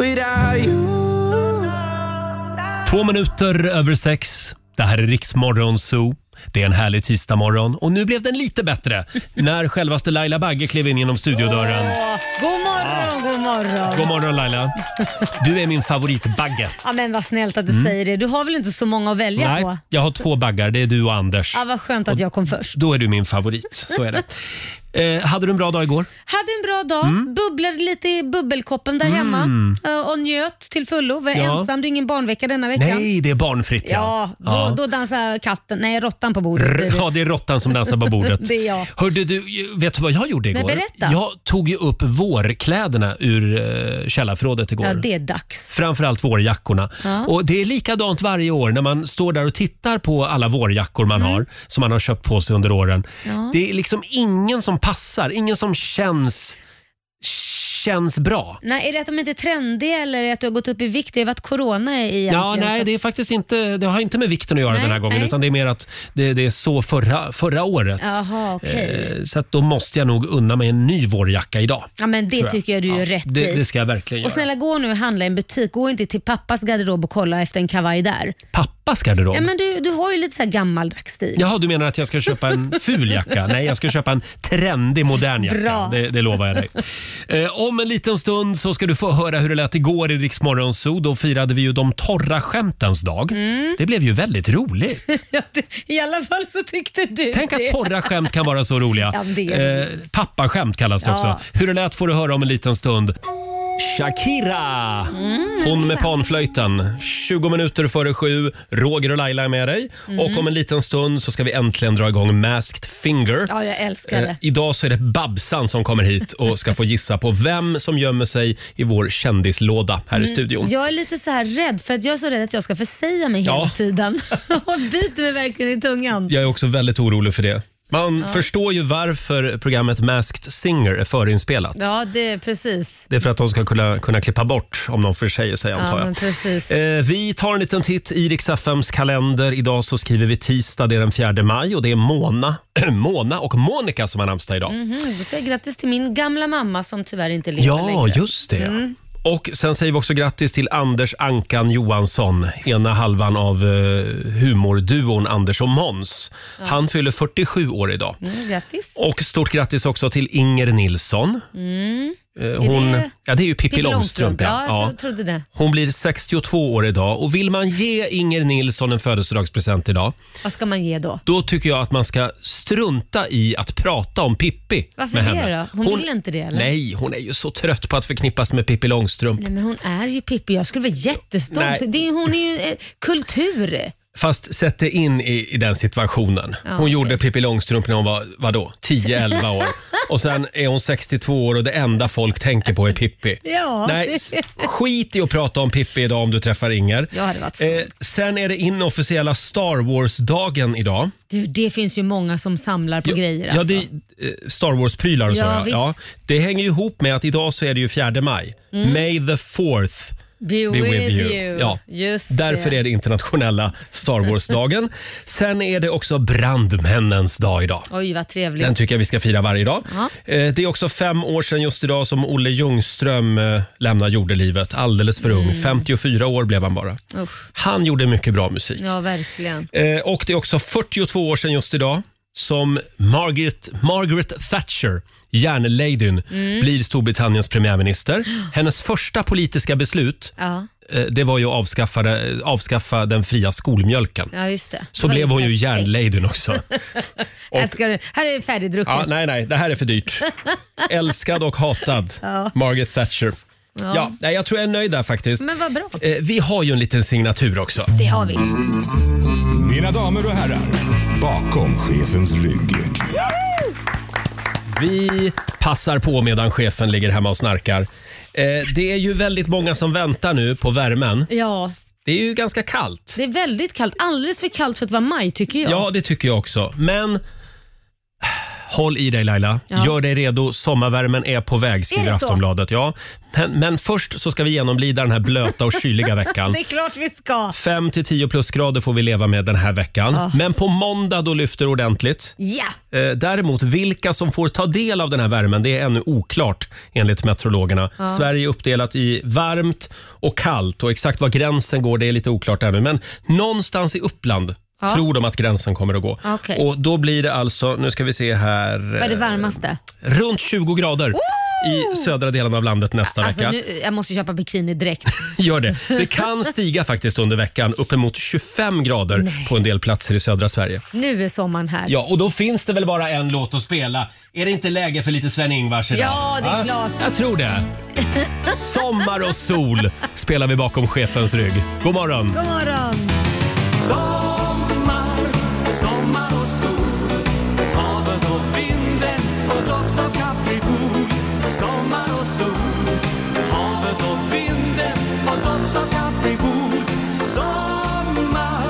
without you Två minuter över sex. Det här är Riksmorgon Zoo. Det är en härlig tisdagmorgon och nu blev den lite bättre när självaste Laila Bagge klev in genom studiodörren. God morgon, god morgon. Ah. God morgon Laila. Du är min favoritbagge. Ja, men vad snällt att du Mm. säger det. Du har väl inte så många att välja på? jag har två baggar. Det är du och Anders. Ja, vad skönt att jag kom först. Då är du min favorit. Så är det. Eh, hade du en bra dag igår? Hade en bra dag, Mm. bubblade lite i bubbelkoppen där hemma eh, och njöt till fullo. Var Ja. ensam, det är ingen barnvecka denna veckan. Nej, det är barnfritt. Ja, då, Ja. då dansar katten, nej råttan på bordet. blir R- det. Ja, det är råttan som dansar på bordet. Det är jag. Hörde du, vet du vad jag gjorde igår? Nej, berätta. Jag tog ju upp vårkläderna ur eh, källarförrådet igår. Ja, det är dags. Framförallt vårjackorna. Ja. Och det är likadant varje år när man står där och tittar på alla vårjackor man har som man har köpt på sig under åren. Mm. Ja. Det är liksom ingen som passar, ingen som känns, känns bra. Nej, är det att de inte är trendiga eller är det att du har gått upp i vikt? Det har ju varit corona i Ja, egentligen, nej, så- det är faktiskt inte, det har inte med vikten att göra Nej, den här gången nej. utan det är mer att det, det är så förra, förra året. Jaha, okej. Eh, Så att då måste jag nog unna mig en ny vårjacka idag. Ja, men det tror jag. tycker jag du gör rätt det, i. det ska jag verkligen Och göra. snälla gå nu och handla i en butik. Gå inte till pappas garderob och kolla efter en kavaj där. Pappas garderob? Ja, men du, du har ju lite så här gammaldags stil. Jaha, du menar att jag ska köpa en ful jacka? Nej, jag ska köpa en trendig modern jacka. Bra. Det, det lovar jag dig. Eh, om en liten stund så ska du få höra hur det lät igår i Rix Morgon Zoo. Då firade vi ju de torra skämtens dag. Mm. Det blev ju väldigt roligt. Ja, det- I alla fall så tyckte du Tänk att det. torra skämt kan vara så roliga. Ja, det är eh, pappaskämt kallas det Ja. också. Hur det lät får du höra om en liten stund. Shakira! Mm. Hon med panflöjten. 20 minuter före sju. Roger och Laila är med dig. Mm. Och om en liten stund så ska vi äntligen dra igång Masked Finger. Ja, jag älskar Eh, det. idag så är det Babsan som kommer hit och ska få gissa på vem som gömmer sig i vår kändislåda här i Mm. studion. Jag är lite så här rädd för att jag är så rädd att jag ska försäga mig Ja. hela tiden. och biter mig verkligen i tungan. Jag är också väldigt orolig för det. Man förstår ju varför programmet Masked Singer är förinspelat. Ja, det är precis. Det är för att de ska kunna, kunna klippa bort om de försäger sig antar Ja, jag. men precis. Eh, vi tar en liten titt i Rix FMs kalender. Idag så skriver vi tisdag, det är den 4 maj och det är Mona, Mona och Monica som har namnsdag idag. Mhm, då säger jag grattis till min gamla mamma som tyvärr inte lever Ja, längre. Mm. just det. Och sen säger vi också grattis till Anders Ankan Johansson, ena halvan av eh, humorduon Anders och Måns. Han fyller 47 år idag. Mm, grattis. Och stort grattis också till Inger Nilsson. Eh, Hon, det- ja, det är ju Pippi, Mm. Pippi Långstrump. Ja, Ja. jag tro- trodde det. Hon blir 62 år idag och vill man ge Inger Nilsson en födelsedagspresent idag, Vad ska man ge då? då tycker jag att man ska strunta i att prata om Pippi Varför med det henne. då? Hon vill inte det, eller? Nej, hon är ju så trött på att förknippas med Pippi Långstrump. Nej, men hon är ju Pippi. Jag skulle vara jättestolt. Nej. Det är, hon är ju eh, kultur. Fast sätt dig in i, i den situationen. Hon okej. gjorde Pippi Långstrump när hon var, vadå, 10-11 år. Och sen är hon 62 år och det enda folk tänker på är Pippi. Ja, Nej, det- s- skit i att prata om Pippi idag om du träffar Inger. Jag hade varit stolt. Eh, sen är det inofficiella Star Wars-dagen idag. Du, det finns ju många som samlar på grejer. Ja, Alltså. det, eh, Star Wars-prylar och så. Ja, Ja, visst. ja. Det hänger ju ihop med att idag så är det ju 4 maj. May the fourth Mm. Be, be with, you. Ja. Just Därför är det internationella Star Wars-dagen. Sen är det också brandmännens dag idag. Oj, vad trevligt. Den tycker jag vi ska fira varje dag. Ja. Eh, Det är också fem år sedan just idag som Olle Ljungström eh, lämnar jordelivet. Alldeles för ung. Mm. 54 år blev han bara. Usch. Han gjorde mycket bra musik. Ja, verkligen. Eh, Och det är också 42 år sedan just idag som Margaret, Margaret Thatcher, järnladyn, Mm. blir Storbritanniens premiärminister. Hennes första politiska beslut Ja, eh, det var ju att avskaffa, det- eh, avskaffa den fria skolmjölken. ja just det. Så blev hon ju järnladyn också. Här, ska du, här är det färdigdrucket. Ja, nej, nej, det här är för dyrt. Älskad och hatad, Margaret Thatcher. Ja. nej, jag tror jag är nöjd där faktiskt. Men vad bra. Eh, Vi har ju en liten signatur också. Det har vi. Mina damer och herrar, bakom chefens rygg. Vi passar på medan chefen ligger hemma och snarkar. Eh, det är ju väldigt många som väntar nu på värmen. Ja, Det är ju ganska kallt. det är väldigt kallt. Alldeles för kallt för att vara maj tycker jag. Ja, det tycker jag också. Men Håll i dig Laila. Ja. Gör dig redo. Sommarvärmen är på väg skriver Är det så? Aftonbladet. Ja. Men, men först så ska vi genomlida den här blöta och kyliga veckan. Det är klart vi ska. 5 till 10 plusgrader får vi leva med den här veckan. Men på måndag då lyfter det ordentligt. Ah. Ja, Eh, Däremot vilka som får ta del av den här värmen det är ännu oklart enligt meteorologerna. Sverige är uppdelat i varmt och kallt och exakt var gränsen går det är lite oklart ännu. Men någonstans i Uppland Ja. tror de att gränsen kommer att gå. Okej. Och då blir det alltså, nu ska vi se här, vad är det eh, varmaste? runt 20 grader. i södra delen av landet nästa Alltså, vecka. nu, jag måste köpa bikini direkt. Gör det. Det kan stiga faktiskt under veckan uppemot 25 grader på en del platser i södra Sverige. Nu är sommaren här. Ja, och då finns det väl bara en låt att spela. Är det inte läge för lite Sven-Ingvars idag? Ja, det är Va? klart. Jag tror det. Sommar och sol spelar vi bakom chefens rygg. God morgon! God morgon! Sommar, sommar och sol Havet och vinden och doft av kaprifol Sommar och sol Havet och vinden och doft av kaprifol Sommar,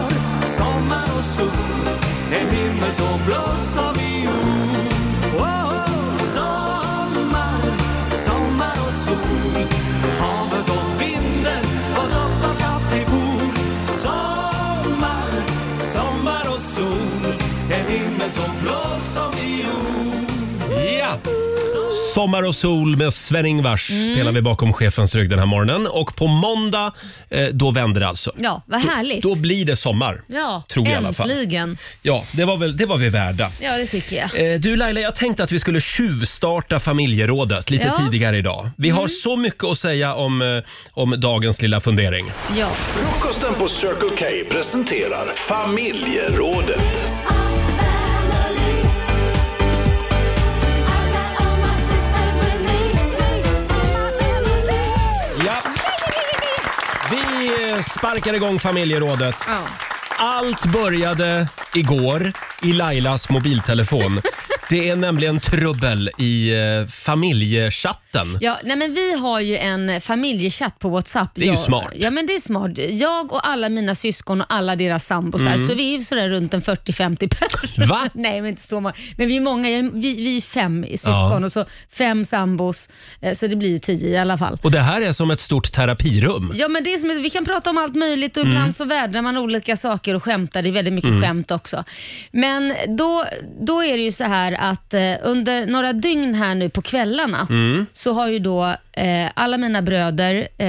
sommar och sol En himmel så blå som viol Wow! Sommar, sommar och sol Havet och vinden och doft av kaprifol Sommar, sommar och sol En himmel så blå som viol Ja! Sommar och sol med Sven-Ingvars Mm. spelar vi bakom chefens rygg den här morgonen. Och på måndag, eh, då vänder det alltså. Ja, vad härligt. Då blir det sommar. ja, tror jag i alla fall. äntligen. Ja, det var, väl, det var vi värda. Ja, det tycker jag. Eh, Du Laila, jag tänkte att vi skulle tjuvstarta familjerådet lite Ja. Mm. tidigare idag. Vi har så mycket att säga om, eh, om dagens lilla fundering. Ja. Frukosten på Circle K presenterar Familjerådet. Ja. Vi eh, sparkar igång familjerådet. Ja. Allt började igår i Lailas mobiltelefon. Det är nämligen trubbel i eh, familjechatten. Ja, nej men vi har ju en familjechatt på Whatsapp. Det är ju Jag- smart. Ja, men det är smart. Jag och alla mina syskon och alla deras sambos, här, så vi är ju sådär runt en 40-50 personer. Mm. Va? Nej, men inte så många. Men vi är många. Jag- Vi, vi är fem i syskon Ja. och så fem sambos, eh, så det blir ju tio i alla fall. Och det här är som ett stort terapirum. Ja, men det är som, att vi kan prata om allt möjligt Mm. och ibland så vädrar man olika saker och skämtar. Det är väldigt mycket skämt också. Men då, då är det ju så här att eh, under några dygn här nu på kvällarna Mm. så har ju då eh, alla mina bröder, eh,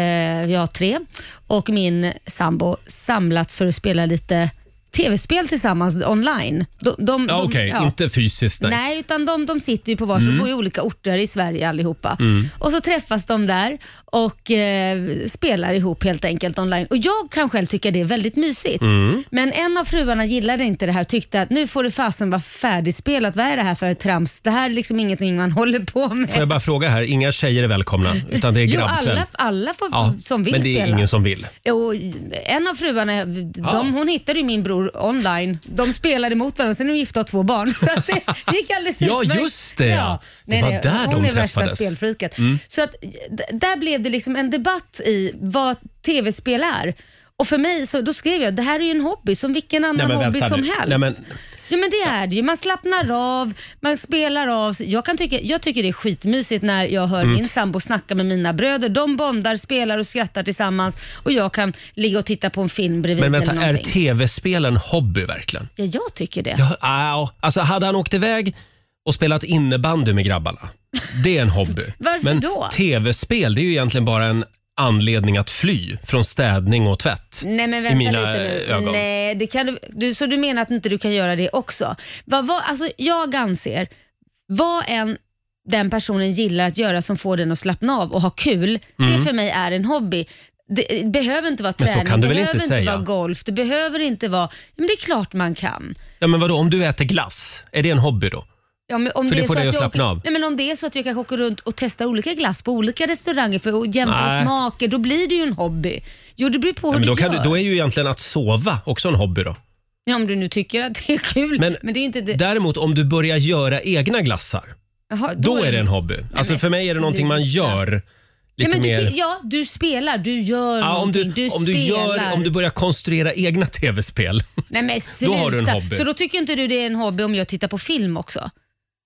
jag har tre, och min sambo samlats för att spela lite tv-spel tillsammans online. De, de, Ja, de- Okej, ja. inte Mm. fysiskt. Nej. Nej, utan de, de sitter ju på varsin, bor i olika orter i Sverige allihopa. Mm. Och så träffas de där och eh, spelar ihop helt enkelt online. Och Jag kan själv tycka det är väldigt mysigt. Mm. Men en av fruarna gillade inte det här tyckte att nu får det fasen vara färdigspelat. Vad är det här för trams? Det här är liksom ingenting man håller på med. Får jag bara fråga här, inga tjejer är välkomna utan det är Jo, grabbkväll. alla, alla får, Ja, som vill men det är spela. ingen som vill. Jo, Eh, en av fruarna, eh, de, Ja. hon hittade ju min bror online. De spelade mot varandra, sen är de gifta och har två barn. Så att det gick alldeles Ja, utmärkt. just det, ja. Det var där hon de är värsta träffades. Mm. spelfreaket. Så att, d- där blev det liksom en debatt i vad tv-spel är. Och för mig, så, då skrev jag, det här är ju en hobby som vilken annan men hobby vänta som nu. helst. Nej, men- Ja men det är det ju. Man slappnar av, man spelar av sig. jag, kan tycka, jag tycker det är skitmysigt när jag hör Mm. min sambo snacka med mina bröder. De bondar, spelar och skrattar tillsammans och jag kan ligga och titta på en film bredvid Men vänta, eller är någonting. tv-spel en hobby verkligen? ja, jag tycker det. Ja, au. alltså hade han åkt iväg och spelat innebandy med grabbarna, det är en hobby. Varför Men då? tv-spel, det är ju egentligen bara en anledning att fly från städning och tvätt. Nej men vänta mina lite nu. ögon. Nej, det kan du, du, så du menar att inte du kan göra det också? Vad, vad, alltså, jag anser, vad än den personen gillar att göra som får den att slappna av och ha kul, det för mig är en hobby. Det behöver inte vara Mm. Men så träning, kan du väl behöver inte säga? vara golf, det behöver inte vara... Men det är klart man kan. Ja, men vadå, om du äter glass, är det en hobby då? Ja, men om För det är så får dig jag att slappna åker, av. Nej, men om det är så att jag kanske åker runt och testar olika glass på olika restauranger för att jämföra Nej. smaker, då blir det ju en hobby. Jo, det beror på Ja, hur men då, du kan gör. du, då är ju egentligen att sova också en hobby då. Ja, om du nu tycker att det är kul. Men Men, det är ju inte det. Däremot om du börjar göra egna glassar, Jaha, då, är det en hobby. Alltså men för mig är det någonting man sluta. gör Ja, lite men du, mer... ty- ja, du spelar, du gör Ja, om du, någonting, du, om, du spelar. gör, om du börjar konstruera egna tv-spel. Nej men Då har sluta. du en hobby. Så då tycker inte du det är en hobby om jag tittar på film också?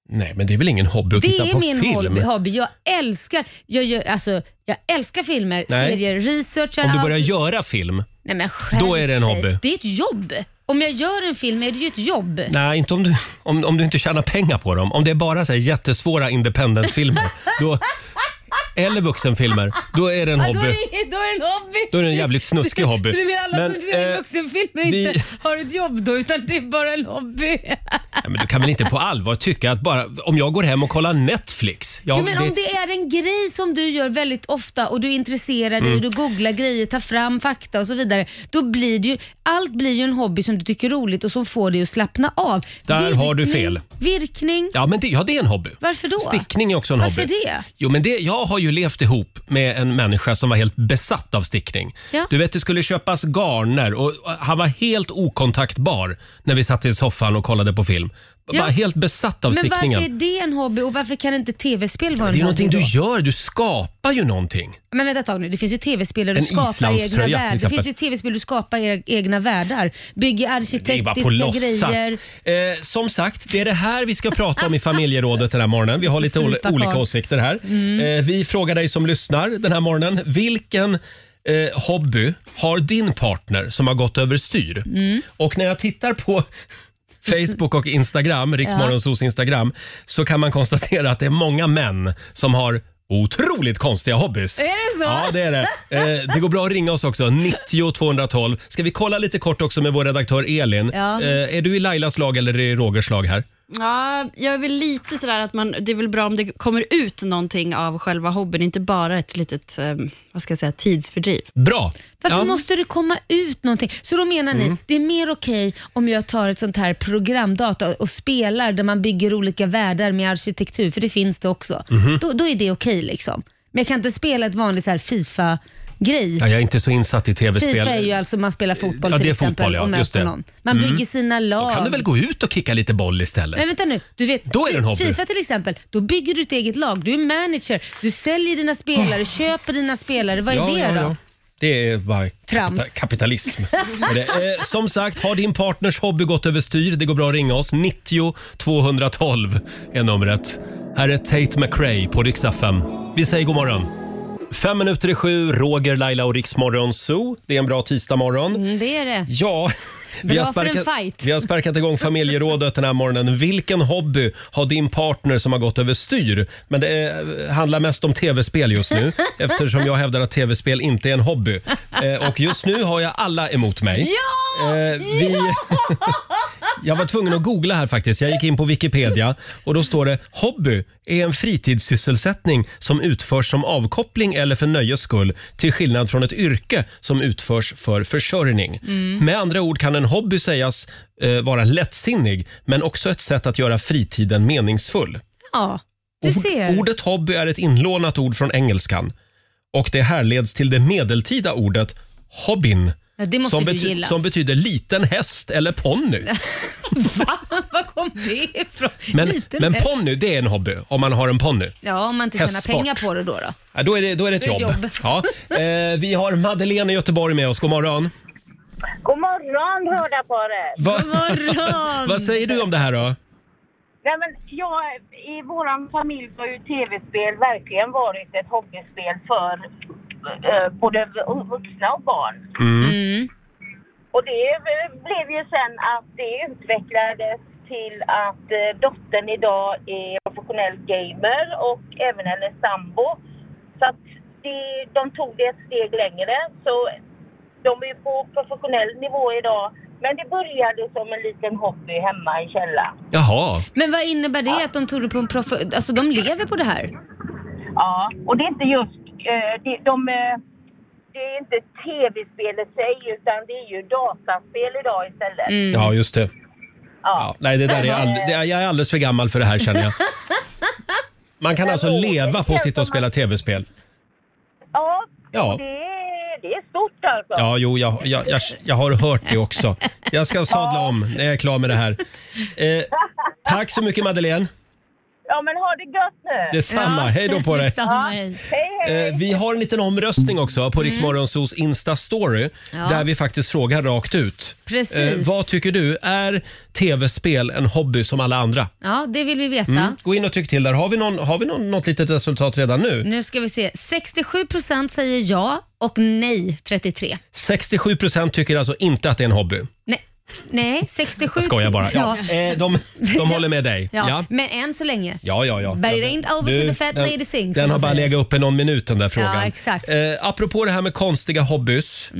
Nej, men det är väl ingen hobby att Det titta är på min film? hobby- hobby. Jag älskar, jag, gör- alltså, jag älskar filmer, Nej. serier, researchar. Om du allt. börjar göra film? Nej, men skärp då är det en dig. hobby. Det är ett jobb. Om jag gör en film är det ju ett jobb. Nej, inte om du, om, om du inte tjänar pengar på dem. Om det är bara så här jättesvåra independent-filmer. då, eller vuxenfilmer. Då är det en Ja, då, är hobby. det, då är det en hobby. Då är det en jävligt snuskig hobby. Så du menar alla som ser eh, vuxenfilmer vi- inte har ett jobb då, utan det är bara en hobby? nej, men du kan väl inte på allvar tycka att bara om jag går hem och kollar Netflix. Ja, jo, men om det är en grej som du gör väldigt ofta och du är intresserad Mm. i, du googlar grejer, tar fram fakta och så vidare. Då blir det ju, allt blir ju en hobby som du tycker är roligt och som får dig att slappna av. Där har du fel. Virkning. Ja, men det, ja, det är en hobby. Varför då? Stickning är också en Varför hobby. det? Jo, men det, jag har ju levt ihop med en människa som var helt besatt av stickning. Ja. Du vet, det skulle köpas garner och och han var helt okontaktbar när vi satt i soffan och kollade på film. Ja. Bara helt besatt av Men varför stickningen. är det en hobby och varför kan inte tv-spel vara Det är ju en hobby? någonting du då? gör, du skapar ju någonting. Men vänta ett tag nu, det finns ju tv-spel där du En skapar islandströja, egna till världar. Det exempel. finns ju tv-spel där du skapar era egna världar. Bygger Det är ju bara på arkitektiska låtsas. grejer. Eh, som sagt, det är det här vi ska prata om i familjerådet den här morgonen. Vi har lite ol- Strupa olika kvar. åsikter här. Eh, vi frågar dig som lyssnar den här morgonen. Vilken eh, hobby har din partner som har gått överstyr? Och när jag tittar på Facebook och Instagram, Riksmorgonsos Instagram, så kan man konstatera att det är många män som har Otroligt konstiga hobbys. Är det så? Ja, det är det. Eh, det går bra att ringa oss också, 90 212. Ska vi kolla lite kort också med vår redaktör Elin. Ja. Eh, är du i Lailas lag eller i Rogers lag här? Ja, jag är väl lite sådär att man, det är väl bra om det kommer ut någonting av själva hobbyn, inte bara ett litet eh, vad ska jag säga, tidsfördriv. Bra! Varför Ja. måste det komma ut någonting? Så då menar Mm. ni, det är mer okej om jag tar ett sånt här programdata och spelar där man bygger olika världar med arkitektur, för det finns det också. Mhm. Då, då är det okej liksom. Men jag kan inte spela ett vanligt så här Fifa-grej. ja, jag är inte så insatt i tv-spel. Fifa är ju alltså man spelar fotboll Ja, det till är exempel fotboll, ja. och Just det. Mm. möter någon. Man bygger sina lag. Kan du väl gå ut och kicka lite boll Men istället? vänta nu, du vet, Då är det en hobby. Fifa till exempel, då bygger du ett eget lag, du är manager, du säljer dina spelare, Oh. köper dina spelare. Vad är det då? Det är bara Trams. kapita- kapitalism. Är det. Eh, som sagt, har din partners hobby gått överstyr? Det går bra att ringa oss. 90 212 är numret. Här är Tate McRae på Rix FM. Vi säger god morgon. Fem minuter i sju, Roger, Laila och Rix Morgon Zoo. Det är en bra tisdagmorgon. Mm, det är det. Ja, vi Bra har, för en sparkat, fight. vi har sparkat igång familjerådet den här morgonen. Vilken hobby har din partner som har gått över styr? Men det eh, handlar mest om tv-spel just nu eftersom jag hävdar att tv-spel inte är en hobby. Eh, och just nu har jag alla emot mig. Ja! Eh, vi... Jag var tvungen att googla här faktiskt. Jag gick in på Wikipedia och då står det hobby är en fritidssysselsättning som utförs som avkoppling eller för nöjes skull till skillnad från ett yrke som utförs för försörjning. Mm. Med andra ord kan en hobby sägas eh, vara lättsinnig men också ett sätt att göra fritiden meningsfull. Ja, du ser. Ordet hobby är ett inlånat ord från engelskan och det härleds till det medeltida ordet hobbin. Ja, det måste som, du bety- gilla. som betyder liten häst eller ponny. Var kom det ifrån? Men, Liten men lätt. ponny, det är en hobby om man har en ponny. Ja, om man inte tjänar hästsport. pengar på det då. då. Ja, då, är det, då är det ett Det är jobb. ett jobb. Ja. Eh, vi har Madeleine i Göteborg med oss. God morgon. God morgon, hörda på det. Va- God morgon! Vad säger du om det här då? Nej, men jag, I vår familj har ju tv-spel verkligen varit ett hobbyspel för eh, både vuxna och barn. Mm. Mm. Och det eh, blev ju sen att det utvecklades till att eh, dottern idag är professionell gamer och även hennes sambo. Så att det, de tog det ett steg längre. Så de är ju på professionell nivå idag. Men det började som en liten hobby hemma i källaren. Jaha. Men vad innebär det att de tog det på en proff... Alltså de lever på det här? Ja, och det är inte just... Eh, det, de, eh, det är inte tv-spel i sig, utan det är ju dataspel idag istället. Mm. Ja, just det. Ja, Ja. nej, det där är all- det, jag är alldeles för gammal för det här känner jag. Man kan alltså leva på att sitta och spela tv-spel. Ja, Ja. Det, är- det är stort alltså. Ja, jo, jag, jag, jag, jag har hört det också. Jag ska sadla om när jag är klar med det här. Eh, tack så mycket Madeleine. Ja, men ha ha det gött nu! Detsamma, hej då på dig. Samma, hej. Mm. Hej, hej! Eh, vi har en liten omröstning också på Rix Morgonzoos Insta-story Ja. där vi faktiskt frågar rakt ut. Eh, Precis. vad tycker du? Är tv-spel en hobby som alla andra? Mm. Ja, det vill vi veta. Gå in och tyck till där. Har vi, någon, har vi någon, något litet resultat redan nu? Nu ska vi se. 67 procent säger ja och nej 33. 67 procent tycker alltså inte att det är en hobby. Nej, nej 67 Jag skojar bara. Ja. Ja. Eh, de de håller med dig. Ja. Ja. Men än så länge. Ja, ja, ja. But it ain't over till the fat den, lady sings, som Den har man bara säger. legat uppe någon minut den där frågan. exakt. Eh, apropå det här med konstiga hobbys.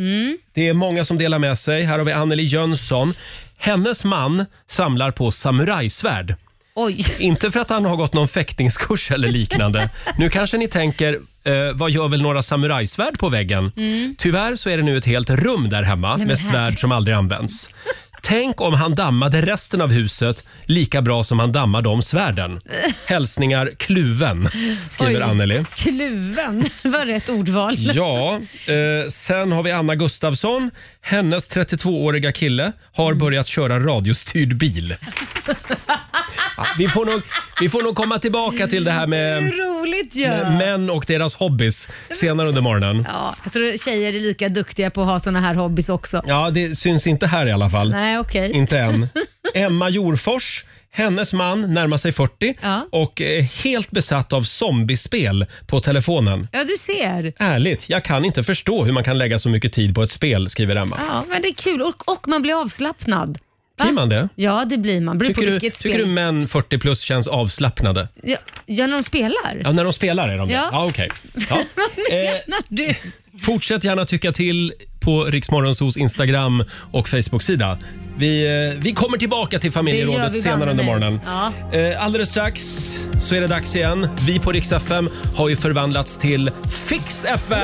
Det är många som delar med sig. Här har vi Anneli Jönsson. Hennes man samlar på samurajsvärd. Oj. Inte för att han har gått någon fäktningskurs eller liknande. nu kanske ni tänker, eh, vad gör väl några samurajsvärd på väggen? Tyvärr så är det nu ett helt rum där hemma Mm. men med här- svärd som aldrig används. Tänk om han dammade resten av huset lika bra som han dammade om svärden. Hälsningar Kluven, skriver Oj. Anneli. Kluven var rätt ordval. Ja, eh, sen har vi Anna Gustafsson. Hennes 32-åriga kille har Mm. börjat köra radiostyrd bil. Ja, vi, får nog, vi får nog komma tillbaka till det här med Hur roligt ju. män och deras hobbys senare under morgonen. Ja, jag tror tjejer är lika duktiga på att ha såna här hobbys också. Ja, det syns inte här i alla fall. Nej, okej. Mm. Inte än. Emma Jorfors. Hennes man närmar sig 40 Ja. och är helt besatt av zombiespel på telefonen. Ja, du ser. Ärligt, jag kan inte förstå hur man kan lägga så mycket tid på ett spel, skriver Emma. Ja, men det är kul och, och man blir avslappnad. Va? Blir man det? Ja, det blir man. Beror på Tycker du, vilket tycker du spel. män 40 plus känns avslappnade? Ja, ja, när de spelar. Ja, när de spelar är de det? Ja. Ja, okej. ja. eh, När du... Fortsätt gärna tycka till på Riksmorgonsos Instagram och Facebook-sida. Vi, eh, vi kommer tillbaka till Det gör vi familjerådet senare banne under mig. morgonen. Eh, alldeles strax så är det dags igen. Vi på Rix FM har ju förvandlats till Fix FM!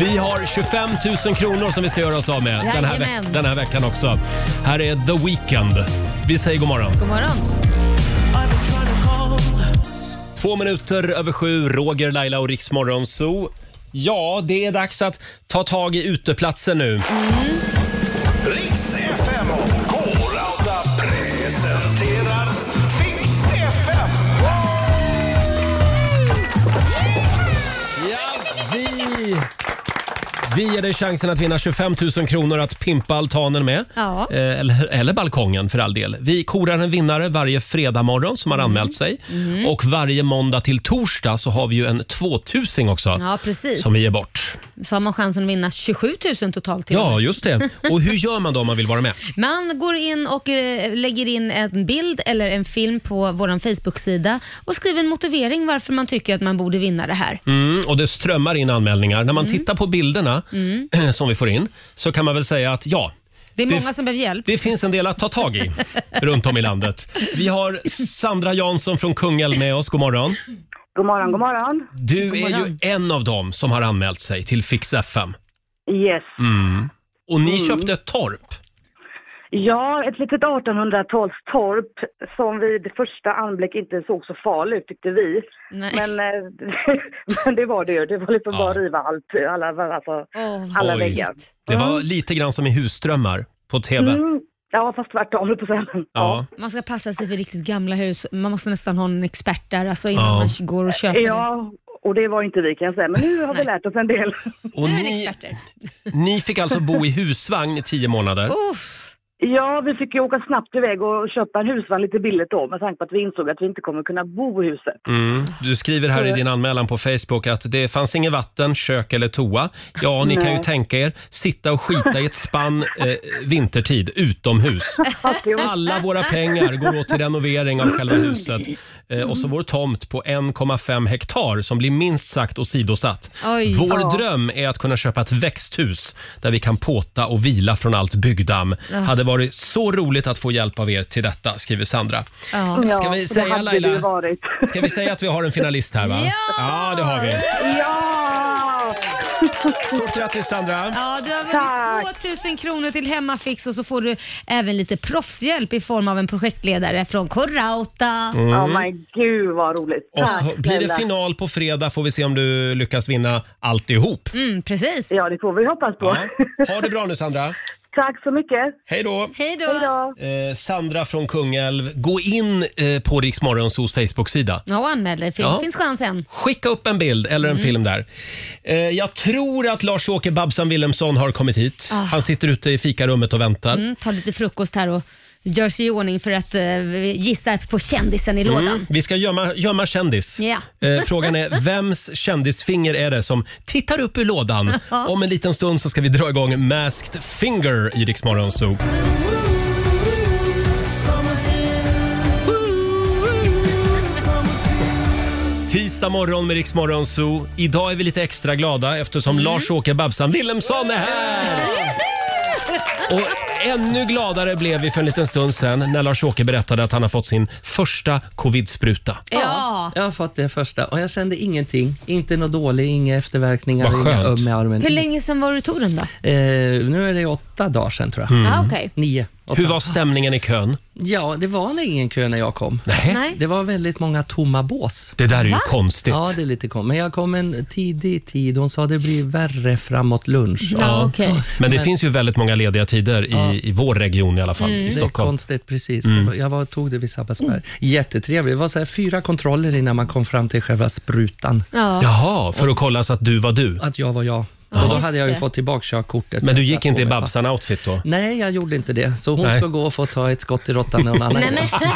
Vi har 25 000 kronor som vi ska göra oss av med den här, Jajamän. veck- den här veckan också. Här är The Weeknd. Vi säger god morgon. God morgon. Två minuter över sju, Roger, Laila och Riks Morgonzoo. Ja, det är dags att ta tag i uteplatsen nu. Riks FM och K-Rauta presenterar Fix FM! Ja, vi... Vi ger dig chansen att vinna 25 000 kronor att pimpa altanen med. Ja. Eh, Eller, eller balkongen för all del. Vi korar en vinnare varje fredag morgon som har Mm. anmält sig. Och varje måndag till torsdag så har vi ju en 2000 också Ja, precis. som vi ger bort. Så har man chansen att vinna 27 000 totalt. Till. Ja, just det. Och hur gör man då om man vill vara med? Man går in och eh, lägger in en bild eller en film på vår Facebook-sida och skriver en motivering varför man tycker att man borde vinna det här. Mm, och det strömmar in anmälningar. När man Mm. tittar på bilderna som vi får in så kan man väl säga att ja, Det är Det- många som behöver hjälp. det finns en del att ta tag i runt om i landet. Vi har Sandra Jansson från Kungälv med oss. God morgon. God morgon, god morgon. Du är ju en av dem som har anmält sig till Fix FM. Yes. Och ni Mm. köpte ett torp. Ja, ett litet 1800-tals torp som vid första anblick inte såg så farligt ut tyckte vi. Nej. Men, eh, men det var det ju. Det var liksom Ja. bara att riva allt, alla, alltså, Åh, alla Oj. väggar. Det var lite grann som i Husdrömmar på TV. Mm. Ja, fast tvärtom höll jag på att säga. Ja. Man ska passa sig för riktigt gamla hus. Man måste nästan ha en expert där alltså Ja. innan man går och köper det. Ja, och det var inte vi kan jag säga. Men nu har vi lärt oss en del. Och Nu är ni ni, experter. ni fick alltså bo i husvagn i tio månader. Oh. Uff. Ja, vi fick ju åka snabbt iväg och köpa en husvagn lite billigt då med tanke på att vi insåg att vi inte kommer kunna bo i huset. Mm. Du skriver här Oh. i din anmälan på Facebook att det fanns inget vatten, kök eller toa. Ja, ni kan ju tänka er sitta och skita i ett spann eh, vintertid utomhus. Alla våra pengar går åt till renovering av själva Mm. huset eh, och så vår tomt på 1,5 hektar som blir minst sagt åsidosatt. Oj. vår dröm är att kunna köpa ett växthus där vi kan påta och vila från allt byggdamm. Hade varit så roligt att få hjälp av er till detta, skriver Sandra. Ja. Ja, Ska vi så säga, det hade Laila? Det ju varit. Ska vi säga att vi har en finalist här va? Ja! ja det har vi. Ja! Stort grattis Sandra! Ja, du har vunnit Tack. 2000 kronor till Hemmafix och så får du även lite proffshjälp i form av en projektledare från Corauta. Oh my gud vad roligt. Mm. Och så blir det snälla. final på fredag får vi se om du lyckas vinna alltihop. Mm, precis. Ja, det får vi hoppas på. Ja. Ha det bra nu Sandra! Tack så mycket. Hej då! Hej Hej då! då. Eh, Sandra från Kungälv, gå in eh, på Riksmorgonsos Facebook-sida. Ja, och anmäl dig för det Ja. finns chansen. Skicka upp en bild eller Mm. en film där. Eh, jag tror att Lars-Åke Babsan Willemsson har kommit hit. Han sitter ute i fikarummet och väntar. Ah. Mm, ta lite frukost här och gör sig i ordning för att eh, gissa på kändisen i lådan. Mm. Vi ska gömma, gömma kändis. Ja. Eh, frågan är vems kändisfinger är det som tittar upp ur lådan? Om en liten stund så ska vi dra igång Masked Finger i Rix Morgon Zoo. Tisdag morgon med Rix Morgon Zoo. Idag är vi lite extra glada eftersom Lars-Åke Babsan Willemsson är här! Och ännu gladare blev vi för en liten stund sedan när Lars-Åke berättade att han har fått sin första covid-spruta. Ja. Jag har fått det första och jag kände ingenting. Inte något dåligt, inga efterverkningar, Vad inga skönt. öm i armen. Hur länge sedan var du tog den då? Eh, nu är det åtta dagar sedan tror Mm. jag. Ah, okej. Nio. Åtta. Hur var stämningen i kön? Ja, det var nog ingen kö när jag kom. Nej. Nej. Det var väldigt många tomma bås. Det där är ju konstigt. Ja, det är lite kom. Men jag kom en tidig tid. Hon sa det blir värre framåt lunch. Ja, okej. Men det finns ju väldigt många lediga tider i, i vår region i alla fall, i Mm. Det är Stockholm. Mm. konstigt, precis. Det var, jag var, tog det vid Sabbatsberg. Jättetrevligt. Det var så här, fyra kontroller innan man kom fram till själva sprutan. Ja. Jaha, för att kolla så att du var du. Att jag var jag. och då just hade jag ju det. fått tillbaka körkortet. så Men du jag gick satt inte på i mig fast. Babsan-outfit då? Nej, jag gjorde inte det. Så hon Nej. ska gå och få ta ett skott i råttan någon annan Nej, gång. men... ja,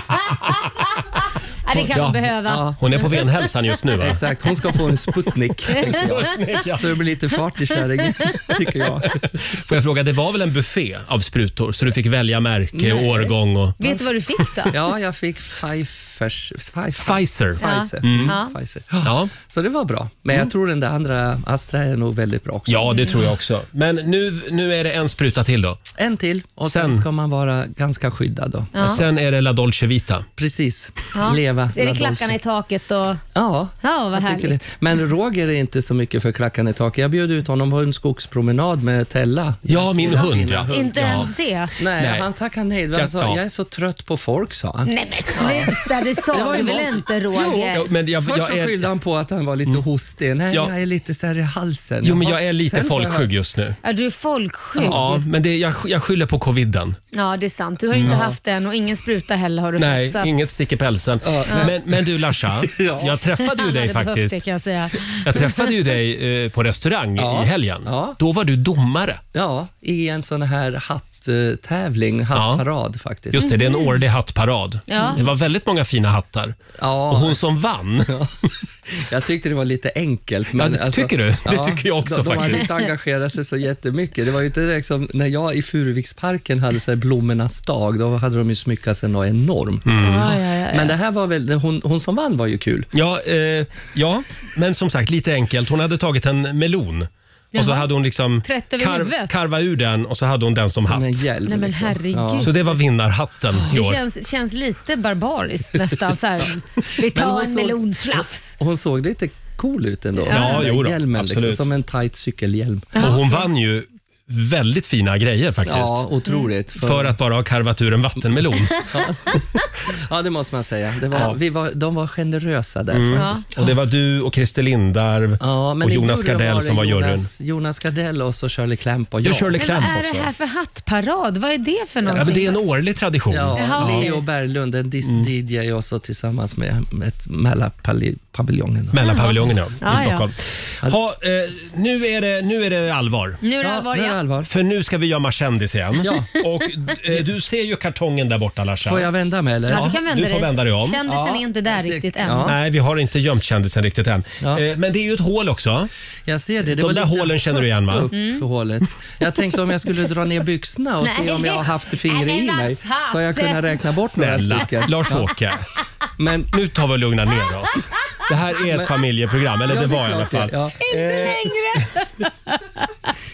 det kan Ja. man behöva. Ja. Hon är på Venhälsan just nu va? Exakt, hon ska få en Sputnik. Så det blir lite fart i kärringen, tycker jag. Får jag fråga, det var väl en buffé av sprutor så du fick välja märke, Nej. årgång och... Vet du vad du fick då? Ja, jag fick Pfizers... Pfizer. Pfizer. Mm. Ja. Pfizer. Mm. Ja. Pfizer. Ja. Mm. Så det var bra. Men jag tror den där andra, Astra, är nog väldigt bra också. ja, det tror jag också. Men nu, nu är det en spruta till då. En till och sen, Sen. ska man vara ganska skyddad. Då. Sen är det La Dolce Vita. Precis. Ja. Leva. Så är la det dolce. klackarna i taket och... Ja, Ja, vad jag tycker härligt. det. Men Roger är inte så mycket för klackarna i taket. Jag bjöd ut honom på en skogspromenad med Tella. Alltså, Ja, min Mina- hund, mina ja. Inte Ja. ens det. Nej, Nej. han tackade nej. Ja, Han sa, ja. jag är så trött på folk, sa han. Nej men sluta, det Det sa var du ju väl något. inte Jo, Roger? men jag, Först jag så skyllde är, Mm. han på att han var lite hostig. Nej, Ja. jag är lite så här i halsen. jo, men Jaha. jag är lite Sen får jag- folkskygg just nu. Ja, du är folksjuk. Ja. Ja, men det, jag, jag skyller på coviden. det är sant. Du har ju inte haft den och ingen spruta heller har du Nej, fått. så att- inget stick i pälsen. Men, men du Larsa, jag träffade ju Han dig hade behövt faktiskt. Det, kan jag säga. Jag träffade ju dig eh, på restaurang Ja. i helgen. Ja. Då var du domare. Ja, i en sån här hatttävling, eh, hattparad faktiskt. Mm. Just det, det är en årlig hattparad. Ja. Det var väldigt många fina hattar. Och Ja, hon som vann, jag tyckte det var lite enkelt. Ja, Men alltså- det tycker du? Det tycker jag också de, de faktiskt. hade inte engagerat sig så jättemycket. Det var ju inte direkt som när jag i Furuviksparken hade så här blommornas dag, då hade de ju smyckat sig något enormt. Mm. Ja, ja, ja. Men det här var väl, hon, hon som vann var ju kul. ja, eh, ja, men som sagt lite enkelt. Hon hade tagit en melon och så hade hon liksom Trätt över huvudet. karvat ur den och så hade hon den som, Som hatt. en hjälm. Nej men liksom. herregud. Så det var vinnarhatten i Det år. känns, känns lite barbariskt nästan. Så här. Vi Men tar hon en såg- melonslafs. Och Hon såg lite cool ut ändå. Ja, Den där jo då, hjälmen, liksom, absolut. som en tight cykelhjälm. Och hon vann ju väldigt fina grejer faktiskt. Mm. Ja, otroligt. För att bara ha karvat ur en vattenmelon. Ja, det måste man säga. Det var, vi var, de var generösa där faktiskt. Mm. Och det var du och Christer Lindarw Ja, men och i Jonas juryn Gardell var det som var juryn. Jonas, Jonas Gardell och så Shirley Clamp och Jag jag. körde Men vad kläm är det också. här för hattparad? Vad är det för Ja, men någonting? det är en årlig tradition. Mm. Ja, Jaha, okej. Leo Berglund, en dis- DJ och så tillsammans med ett Mäla pali- paviljongen. Mellan paviljongen ja, Ja, i ja. Stockholm. Ha, eh, nu, är det, nu är det allvar. Nu är det Ja, allvar nu är det ja. allvar. För nu ska vi gömma kändis igen. Ja. Och, eh, du ser ju kartongen där borta Larsa. Får jag vända mig eller? Ja, du kan du vända får dig. vända dig om. Kändisen Ja. är inte där Cirka- riktigt än. Ja. Nej, vi har inte gömt kändisen riktigt än. Ja. Eh, Men det är ju ett hål också. Jag ser det. det De var där lite hålen känner du igen va? Upp hålet. Jag tänkte om jag skulle dra ner byxorna och Nej. se om jag har haft fingret Nej, i men vad mig. fan. Så har jag kunnat räkna bort några Snälla, stycken. Lars-Åke. Men Nu tar vi och lugnar ner oss. Det här är ett familjeprogram, eller Ja, det är var i klart alla det. fall. Ja. Eh. Inte längre!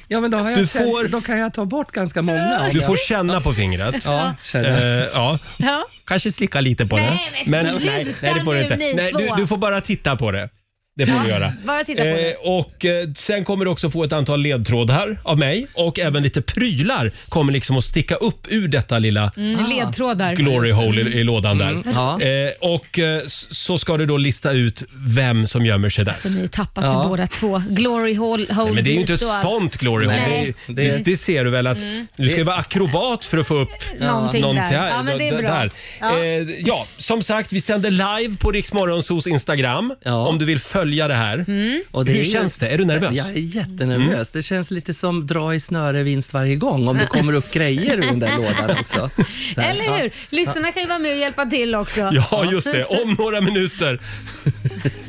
Ja, men då, har jag Du känt- får- då kan jag ta bort ganska många. Du får känna på fingret. Ja, känner Eh, jag. ja. Ja. Kanske slicka lite på Nej, det. men sluta nej, nej, det får du nu, inte. ni Nej, du, två. du får bara titta på det. det får vi göra. bara titta på det. Eh, och eh, sen kommer du också få ett antal ledtrådar av mig och även lite prylar kommer liksom att sticka upp ur detta lilla Mm, ledtrådar. Ah. glory hole i, i lådan där. Ja. Eh, och eh, s- så ska du då lista ut vem som gömmer sig där. Så Alltså, ni har ju tappat Ja. det båda två. Glory hole, hole Nej, men det är ju inte ett och allt. sånt glory hole. Nej. Mm. Det, är- det, det ser du väl att du ska ju vara akrobat för att få upp Någonting där. här- Ja, men det är bra. Där. Ja. Eh, ja, som sagt, vi sänder live på Riksmorgonsos Instagram Ja. om du vill följa det här. Mm. Och det Hur ju- känns det? Är du nervös? Jag är jättenervös. Det känns lite som dra i snöre vinst varje gång om det kommer upp grejer ur den där lådan också. Så här, Eller hur? Lyssnarna kan ju vara med och hjälpa till också. Ja, just det. Om några minuter.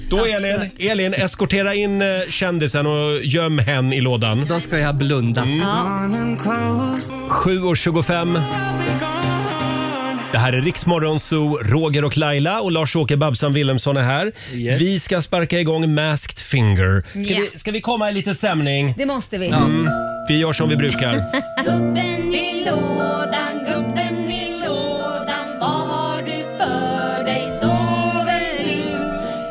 Då Elin, Elin, eskortera in eh, kändisen och göm hen i lådan. Mm. Ja, då ska jag blunda. 7.25. Det här är Riksmorgon Zoo, Roger och Laila och Lars-Åke Babsan Wilhelmsson är här. Yes. Vi ska sparka igång Masked Finger. Ska, Ja. vi, ska vi komma i lite stämning? Det måste vi. Mm. Vi gör som vi brukar. Gubben i lådan, gubben i lådan Vad har du för dig? Sover du?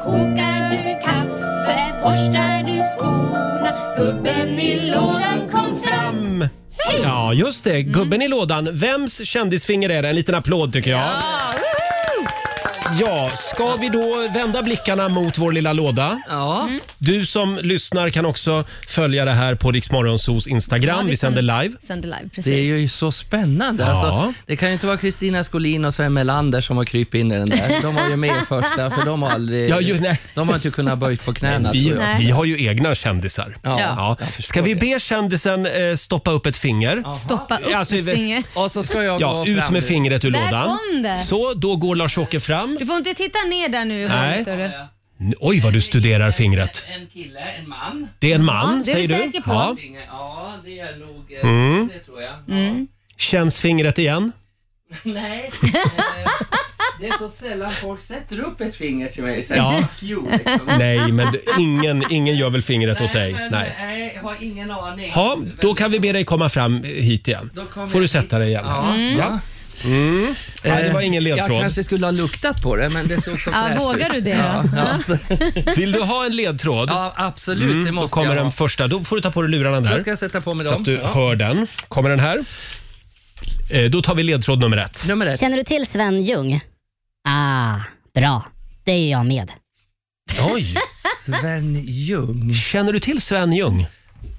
Kokar du kaffe? Borstar du skorna? Gubben i lådan kom fram Ja, just det. Gubben i lådan. Vems kändisfinger är det? En liten applåd tycker jag. Ja, ska vi då vända blickarna mot vår lilla låda? Ja, Du som lyssnar kan också följa det här på Riksmorgonsos Instagram. Ja, vi, vi sänder sänder- live. Sänder live, precis. det är ju så spännande. Ja. Alltså, det kan ju inte vara Kristina Skolin och Sven Melander som har krypit in i den där. De var ju med i första, för de har aldrig... Ja, ju- nej. De har inte kunnat böjt på knäna, Vi, tror jag. vi har ju egna kändisar. Ja, jag förstår Ska vi det. be kändisen eh, stoppa upp ett finger? Stoppa upp Alltså, mitt vi- finger. Och så ska jag Ja, gå ut fram med nu. fingret ur Där lådan. kom det. Så, då går Lars-Åke fram. Du får inte titta ner där nu. i Nej. hörnet, hörru. N- Oj, vad du studerar fingret. En kille, en man. Det är en man, det är säger du du? säker på. Mm. Ja. Mm. Ja, det är nog... eh, Det tror jag. Känns fingret igen? Nej. eh, Det är så sällan folk sätter upp ett finger till mig. Så Ja. Nej, men du- ingen, ingen gör väl fingret åt dig? Nej. liksom. nej, eh, jag har ingen aning. Ja, då kan vi be dig komma fram eh, hit igen. Då kommer Får du jag sätta hit. dig igen. Mm. Ja. Mm. Ja. Nej, det var ingen Eh, Jag ledtråd. kanske skulle ha luktat på det, men det såg så Ja, fräscht vågar ut. du det Ja, då? ja, alltså, Vill du ha en ledtråd? Mm. ja absolut. det Då måste kommer jag den ha. första. Då får du ta på dig lurarna där. Då ska jag sätta på mig Så dem. att du Ja. hör den. Kommer den här? Eh, Då tar vi ledtråd nummer ett. Nummer ett. Känner du till Sven Ljung? Ah, bra. Det är jag med. Oj! Sven Ljung. Känner du till Sven Ljung?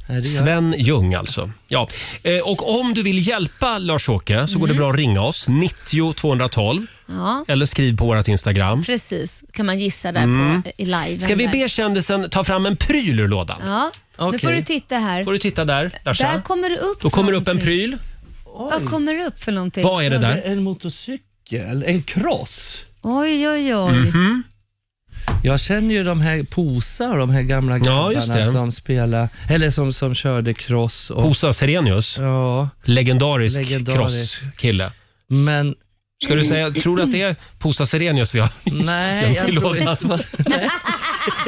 Är det jag? Sven Ljung alltså. Ja. Eh, Och om du vill hjälpa Lars-Åke så går Mm. det bra att ringa oss, 90 212 Ja, eller skriv på vårt Instagram. precis. kan man gissa där på, i live. Mm. Ska vi Där. be kändisen ta fram en pryl ur lådan? Ja, nu Okej. får du titta här. Får du titta där, Där Larsa? kommer det upp Då kommer det upp en någonting. pryl. Vad kommer det upp för någonting? Vad är det där? En motorcykel? En cross? Oj, oj, oj. Mhm. Jag känner ju de här Posa, de här gamla grabbarna just det. som spelar, eller som, som körde cross. Och, Hosa Serenius, ja, legendarisk, Legendarisk. crosskille. men Ska du säga, tror du att det är Posa Serenius vi har? nej, jag tror tillåta. inte... vad-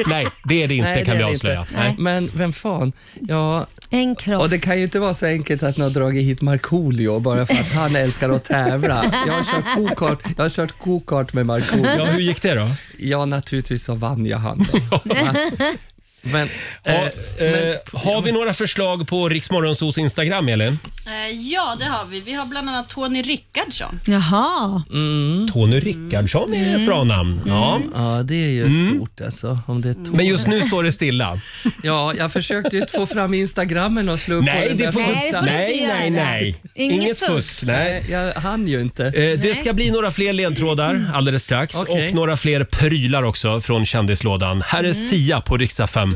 Nej, det är det inte Nej, kan det vi är det avslöja. inte. Nej. Men vem fan? Ja, En kross. och det kan ju inte vara så enkelt att ni har dragit hit Markoolio bara för att han älskar att tävla. Jag har kört go-kart, jag har kört go-kart med Ja, Markoolio. hur gick det då? Ja, naturligtvis så vann jag han. då. Men, Ha, eh, eh, har vi några förslag på Riksmorgonsos Instagram, Elin? Eh, ja, det har vi. Vi har bland annat Tony Rickardsson. Jaha. Tony Rickardsson är ett bra namn. Ja. Mm. ja, det är ju stort alltså. Om det är to- Mm. Men just nu står det stilla. Ja, jag försökte ju få fram Instagrammen och slå upp på Nej, den det där får, Nej, det första. får du inte nej, nej, göra. nej. Inget fusk. fusk. Nej. Nej, jag hann ju inte. Eh, det ska bli några fler Mm. ledtrådar alldeles strax Okej. och några fler prylar också från kändislådan. Här är Mm. Sia på riksdag 5.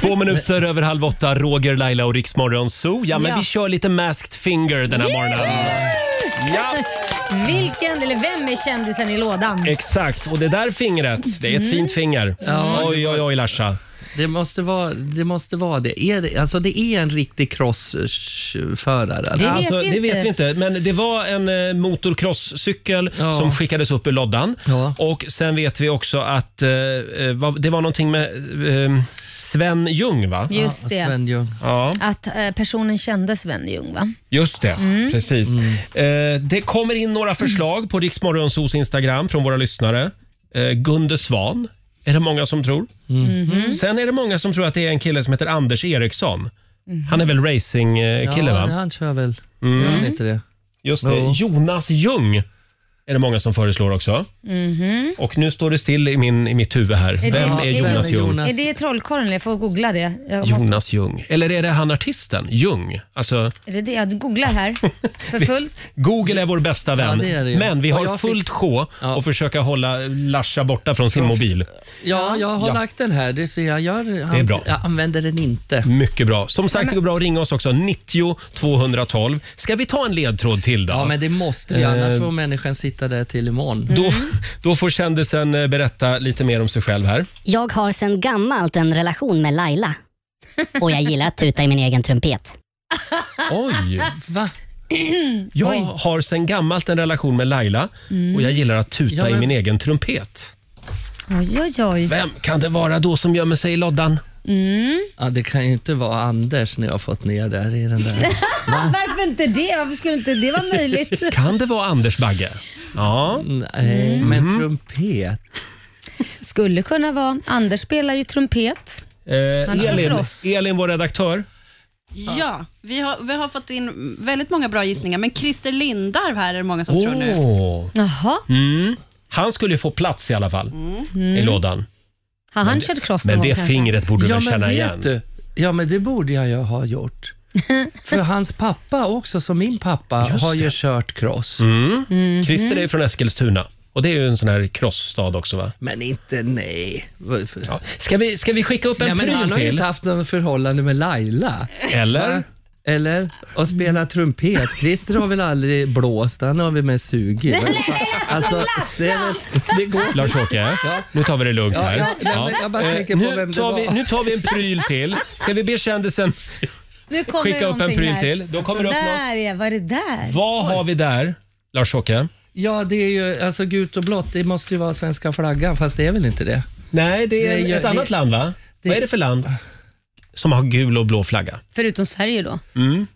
Två minuter över halv åtta, Roger, Laila och Riksmorgon Zoo. Ja, men Ja. vi kör lite Masked Finger den här morgonen. Ja, Eh. Vilken, eller vem är kändisen i lådan? Mm. exakt. Och det där fingret, det är ett fint finger. Oj, oj, oj, Larsa. Det måste vara det. Måste vara det. Är, det- alltså det är en riktig crossförare. Det vet, alltså, det vet vi inte, men det var en eh, motocrosscykel Ja. som skickades upp ur loddan. Och sen vet vi också att eh, eh, vad- det var någonting med eh, Sven Ljung, va? Just Ja, det. Sven Ljung. Ja, Att eh, personen kände Sven Ljung, va? just det. Precis. Eh, det kommer in några förslag på Riksmorgonsos Instagram från våra lyssnare. Eh, Gunde Svan är det många som tror. Mhm. Sen är det många som tror att det är en kille som heter Anders Eriksson. Han är väl racingkille, ja, va? han kör väl. Mm. Gör han inte det? Just det. Jo. Jonas Ljung är det många som föreslår också. Mhm. Och nu står det still i, min, i mitt huvud här. det- Vem är Jonas Ljung? Är det trollkarlen? Jag får googla det. Jag måste- Jonas Ljung. Eller är det han artisten? Ljung. Alltså, Är det det? Jag googlar här för fullt. Google är vår bästa vän. det är det ju. Men vi Och har jag fick- fullt sjå att försöka hålla Larsa borta från sin mobil. Ja, jag har Ja. lagt den här. Det ser jag. Gör, Det är bra. Jag använder den inte. Mycket bra. Som sagt, det går bra att ringa oss också. 90 212. Ska vi ta en ledtråd till då? Ja, men det måste vi. Annars Eh, får Mm. människan sitta där till imorgon. Då, då får kändisen eh, berätta lite mer om sig själv här. Jag har sedan gammalt en relation med Laila. Och jag gillar att tuta i min egen trumpet. Oj! Va? Jag Oj. har sen gammalt en relation med Laila Mm. och jag gillar att tuta Ja, men- i min egen trumpet. Oj, oj, oj. Vem kan det vara då som gömmer sig i loddan? Mm. Ja, det kan ju inte vara Anders när jag har fått ner där i den där. Varför inte det? Varför skulle inte det vara möjligt? Kan det vara Anders Bagge? Ja. Mm. Nej, men trumpet. Skulle kunna vara. Anders spelar ju trumpet. Han Eh, kör Elin, loss. Elin, vår redaktör. Ja, vi har, vi har fått in väldigt många bra gissningar, men Christer Lindarw här är det många som tror nu. Åh. Jaha. Mm. Han skulle ju få plats i alla fall Mm. i lådan. Mm. Har han kört cross någon Men gång det kanske? fingret borde du Ja, väl men känna vet igen? du? Ja, men det borde jag ju ha gjort. För hans pappa också, som min pappa, har ju kört cross. Mm. Christer är ju från Eskilstuna och det är ju en sån här crossstad också va? Men inte nej. Ja. Ska, vi, ska vi skicka upp en Nej, men pryl han har ju till? inte haft något förhållande med Laila. Eller? Eller? Och spela trumpet. Christer har väl aldrig blåst, han har väl med sugit. Alltså, det, är väl- det går Lars-Åke, nu tar vi det lugnt Ja, här. ja, nej, men jag bara Eh, tänker på nu, vem det tar var. vi, nu tar vi en pryl till. Ska vi be kändisen Nu kommer skicka det upp en någonting pryl här. till? Då kommer det Så upp något. där ja, vad är det där? Vad har vi där, Lars-Åke? Ja, det är ju alltså gult och blått. Det måste ju vara svenska flaggan, fast det är väl inte det? Nej, det är Det är ju- ett annat det- land va? Vad är det för land som har gul och blå flagga? Förutom Sverige då. Mm.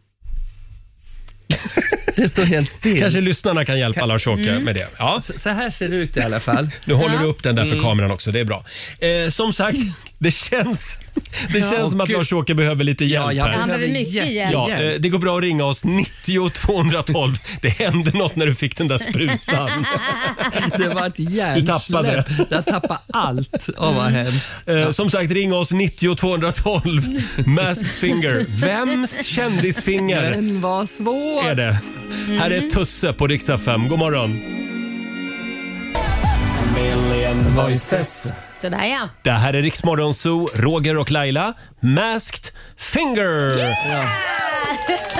Det står helt still. Kanske lyssnarna kan hjälpa Lars-Åke med det. Ja. Så, så här ser det ut i alla fall. Nu håller Ja. du upp den där för Mm. kameran också, det är bra. Eh, som sagt, det känns, det Ja, känns som att gud. Lars-Åke behöver lite hjälp jag här. Han behöver mycket hjälp. Ja, eh, det går bra att ringa oss 90 212. Det hände något när du fick den där sprutan. Det var ett Du tappade hjärnsläpp. det. Jag tappade allt. Åh, vad hemskt. Eh, som sagt, ring oss 90 212. Masked finger. Vems kändisfinger Den var svår. är det? Här Mm. är Tusse på riksdag 5. God morgon. Million voices. Sådär ja. Det här är Riksmorgon Zoo, Roger och Laila. Masked Finger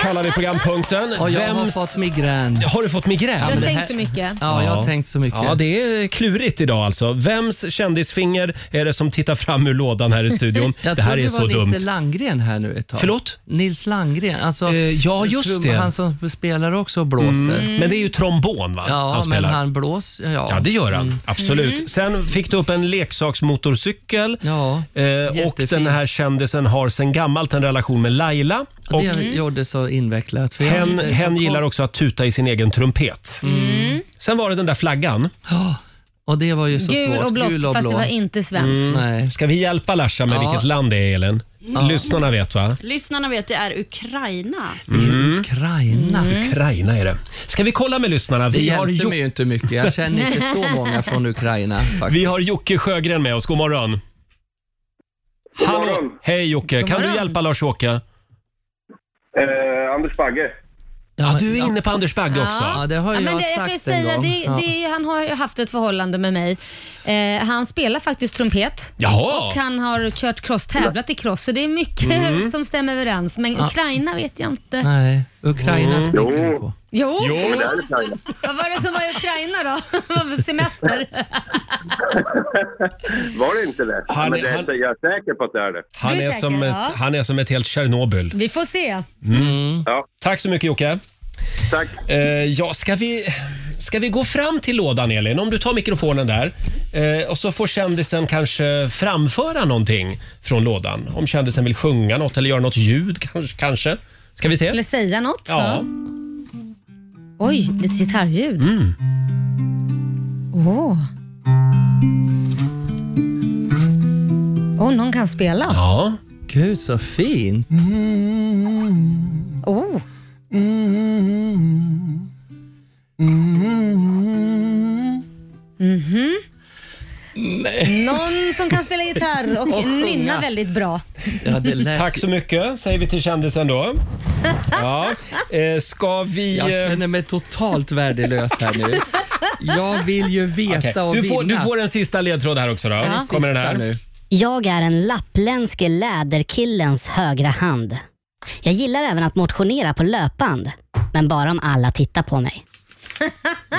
kallar vi programpunkten. Och jag har Vems- fått migrän. Har du fått migrän? Jag har det tänkt här- så mycket. Ja, jag har tänkt så mycket. Ja, det är klurigt idag alltså. Vems kändisfinger är det som tittar fram ur lådan här i studion? Jag det här tror är det så var dumt. Nils Landgren här nu ett tag. Förlåt? Eh, Nils Landgren, alltså ja, just trum- det. han som spelar också och blåser. Mm. Men det är ju trombon va? Ja, han men spelar. han blåser. Ja. Mm. Ja, det gör han. Absolut. Sen fick du upp en leksaksmotorcykel. Ja, Eh, och jättefin. den här kändisen har sen gammalt en relation med Laila. Och Och det gjorde så invecklat. För jag hen, inte så hen koll. gillar också att tuta i sin egen trumpet. Mm. Sen var det den där flaggan. Mm. Ja, och det var ju så Gul svårt. och blått, fast det var inte svenskt. Nej. Mm. Ska vi hjälpa Larsa med Ja. vilket land det är, Elin? Lyssnarna vet va? Lyssnarna vet det är Ukraina. Mm. Ukraina. Ukraina är det. Ska vi kolla med lyssnarna? Mm. Det Vi har, hjälpte jo- mig ju inte mycket. Jag känner inte så många från Ukraina. Faktiskt. vi har Jocke Sjögren med oss. God morgon. Hallå. Hej Jocke, God kan du morgon. hjälpa Lars-Åke? Eh, Anders Bagge. Ja, du är inne på Anders Bagge också. Ja, det har Ja, jag men det, jag sagt kan ju en säga, gång. det, det, ja. är ju- han har ju haft ett förhållande med mig. Eh, han spelar faktiskt trumpet Jaha. och han har kört cross, tävlat i cross, så det är mycket Mm. som stämmer överens. Men Ja. Ukraina vet jag inte. Nej. Mm. Ukraina som Jo. gick vi på. Jo. Jo, men det är Ukraina. Vad var det som var i Ukraina då? Vad för semester? Var det inte det? Han- men det är, han- jag är säker på att det är det. Han Du är är, säker, som ett, ja. han är som ett helt Tjernobyl. Vi får se. Mm. Tack så mycket Jocke. Eh, Tack. ja, ska, vi, ska vi gå fram till lådan Elin? Om du tar mikrofonen där eh, och så får kändisen kanske framföra någonting från lådan. Om kändisen vill sjunga något eller göra något ljud kans- kanske. Ska vi se? Eller säga något. Ja. så. Oj, lite gitarrljud. Åh. Mm. Åh, någon kan spela. Ja. Gud så fint. Oh. Mhm. Någon som kan spela gitarr och, Och sjunga. nynna väldigt bra. Tack så mycket säger vi till kändisen då. Ja. Eh, ska vi... eh, Jag känner mig totalt värdelös här nu. Jag vill ju veta Okej, och du, får, vinna. du får en sista ledtråd här också då. Ja. Kommer den här. Sista nu. Jag är den lappländske läderkillens högra hand. Jag gillar även att motionera på löpband, men bara om alla tittar på mig.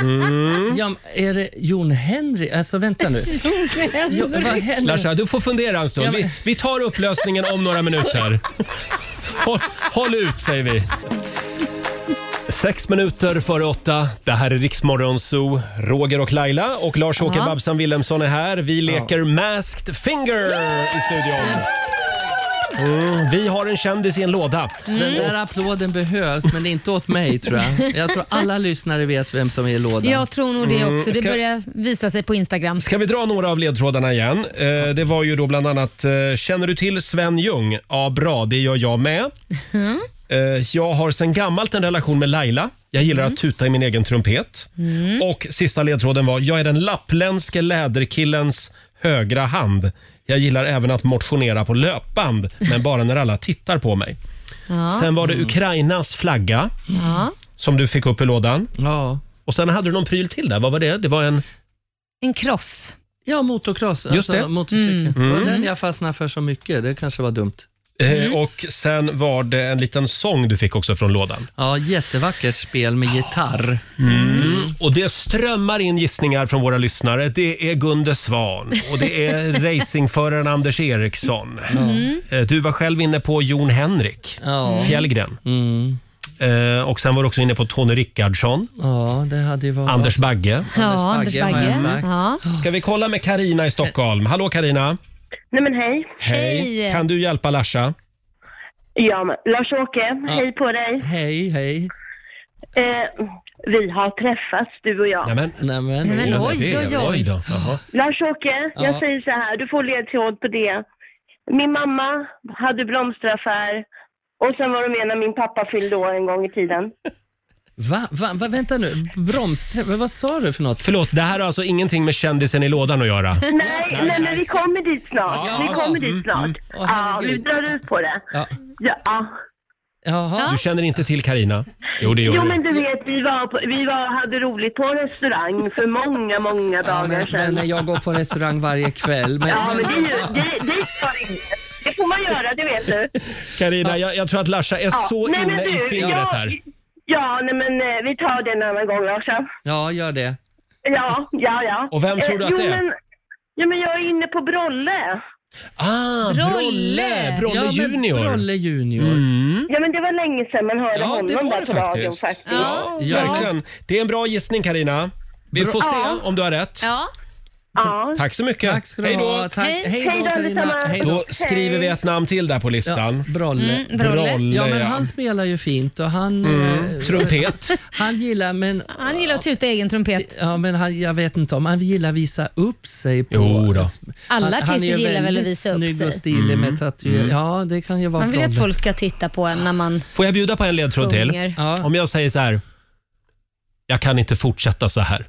Mm. Ja, men är det Jon Henry? Alltså vänta nu. Jo, vad händer? Larsa, du får fundera en stund. Ja, men- Vi, vi tar upplösningen om några minuter. Håll, håll ut, säger vi. Sex minuter före åtta. Det här är Riksmorgon Zoo. Roger och Laila och Lars-Åke Ja. Babsan Willemsson är här. Vi leker Masked Finger i studion. Mm, vi har en kändis i en låda. Den där Mm. applåden behövs, men inte åt mig tror jag. Jag tror alla lyssnare vet vem som är i lådan. Jag tror nog det Mm, också. Det ska- börjar visa sig på Instagram. Ska vi dra några av ledtrådarna igen? Eh, det var ju då bland annat, eh, känner du till Sven Ljung? Ja, bra, det gör jag med. Eh, jag har sedan gammalt en relation med Laila. Jag gillar att tuta i min egen trumpet. Och sista ledtråden var, jag är den lappländske läderkillens högra hand. Jag gillar även att motionera på löpband, men bara när alla tittar på mig. Ja. Sen var det Mm. Ukrainas flagga Ja. som du fick upp i lådan. Ja. Och sen hade du någon pryl till där. Vad var det? Det var en... En cross. Ja, motocross. Just det. Alltså, motorcykel. Mm. Det var den jag fastnade för så mycket. Det kanske var dumt. Mm. Eh, Och sen var det en liten sång du fick också från lådan. Ja, jättevackert spel med gitarr. Mm. Och det strömmar in gissningar från våra lyssnare. Det är Gunde Svan och det är racingföraren Anders Eriksson. Eh, Du var själv inne på Jon Henrik Ja. Mm. Fjällgren. Eh, Och sen var du också inne på Tony Rickardsson, Ja, det hade ju varit... Anders Bagge. Ja, Anders Bagge. har jag sagt. Ja. Ska vi kolla med Karina i Stockholm? Hallå Karina. Nej men hej. Hej. Kan du hjälpa Larsa? Ja, men Lars-Åke, Ja. hej på dig. Hej, hej. Eh, vi har träffats, du och jag. Nämen. Nämen. Men det- oj, oj, oj. oj då. Jaha. Lars-Åke, Ja. jag säger så här, du får ledtråd på det. Min mamma hade blomsteraffär och sen var de med när min pappa fyllde år en gång i tiden. Va, va, va, vänta nu. Broms... Vad, vad sa du för något? Förlåt, det här har alltså ingenting med kändisen i lådan att göra? nej, nej, men vi kommer dit snart. Ja. Vi kommer dit Mm, snart. mm. Åh, ja, herregud. vi drar ut på det. Ja. Ja. Jaha. Du känner inte till Karina? Jo, det gör Jo du. men du vet, vi, var på, vi var, hade roligt på restaurang för många, många Ja, dagar men, sedan. men jag går på restaurang varje kväll. Men, Ja, men det, är ju, det, det, är ju- det får man göra, det vet du. Karina, jag, jag tror att Larsa är Ja, så nej, men inne i du, fingret jag- här. Ja, nej, men eh, vi tar det en annan gång också. Ja, gör det. Ja, ja, ja. Och vem tror du Eh, att jo, det är? Men, ja, men jag är inne på Brolle. Ah, Brolle! Brolle ja, men Junior. Brolle Junior. Mm. Ja, men det var länge sedan man hörde Ja, honom det var där det på radion faktiskt. faktiskt. Ja, verkligen. Det är en bra gissning Karina. Vi Bra. får Ja. se om du har rätt. Ja. ja. Tack så mycket. Tack ska du Hej ha. då. Tack. Hej. Hej då, Hej då, Carina. allesammans. Hej Då skriver vi ett namn till där på listan. Ja, Brolle. Mm, Brolle. Brolle, Ja, men ja. han spelar ju fint och han... Mm, eh, trumpet. Han gillar, men... Han gillar att tuta egen trumpet. Ja, men han, jag vet inte om han gillar att visa upp sig. På, Jo då. Alla Han- han artister är ju gillar väl att väldigt visa upp snygg sig. och stilig Mm. med tatueringar. Mm. Ja, det kan ju vara Man vill ju att Brolle. folk ska titta på en när man... Får jag bjuda på en ledtråd till? Sjunger. Om jag säger så här. Jag kan inte fortsätta så här.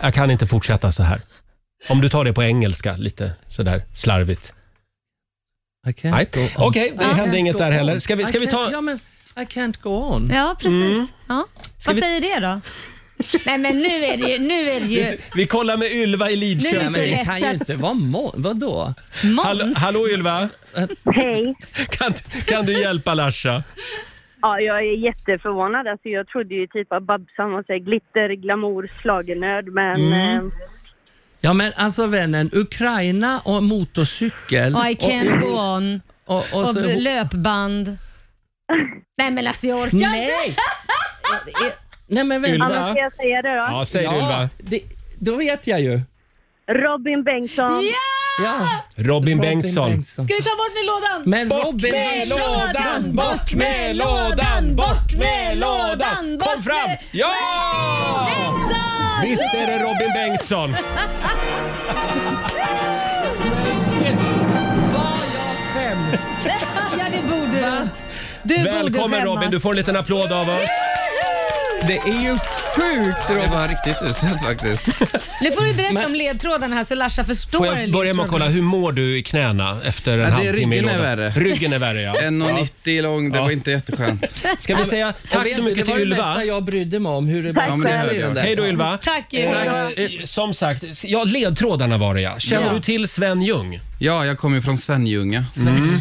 Jag kan inte fortsätta så här. Om du tar det på engelska lite sådär slarvigt. Nej. Okej, det I can't hände inget go där on. heller. Ska vi, ska I vi can't- ta... Ja, men I can't go on. Ja, precis. Mm. Ja. Ska Vad vi- säger det då? Nej men nu är det ju... Nu är det ju... Vi, vi kollar med Ylva i Lidköping. Nej, men det kan ju inte vara Måns. Vadå? Hallå, hallå Ylva. Hej. Kan, kan du hjälpa Larsa? Ja, jag är jätteförvånad. Alltså, jag trodde ju typ att Babsan var så här glitter, glamour, schlagernörd, men... Mm. Eh, Ja, men alltså vännen, Ukraina och motorcykel. I can't och, go on. Och, och, Och så, löpband. Nej men alltså jag orkar Nej. inte. nej, men vänta. Annars ska jag säga det då. det- Då vet jag ju. Robin Bengtsson. Ja! Ja. Robin Bengtsson. Ska vi ta bort med lådan? Men bort Robin- med lådan, bort med lådan, bort med lådan. Kom fram! Ja! Visst är det Robin Bengtsson? ja det borde du. Du borde Välkommen skämmas. Robin, du får en liten applåd av oss. Det är ju sjukt Robin. Det var riktigt uselt faktiskt. Nu får du berätta om ledtrådarna här så Larsa förstår. liksom. Får jag börja med att kolla, hur mår du i knäna efter en Ja, det är halvtimme i ryggen är lådan? värre. Ryggen är värre ja. 1,90 lång, det Ja. var inte jätteskönt. Ska vi säga tack så mycket till Det var det Ylva? bästa jag brydde mig om. Hur det Tack blev själv. i den där. Hej då Ylva. Tack Eh, eh, Som sagt, ja, ledtrådarna var det ja. Känner Ja. du till Sven Ljung? Ja, jag kommer ju från Svenljunga. Mm.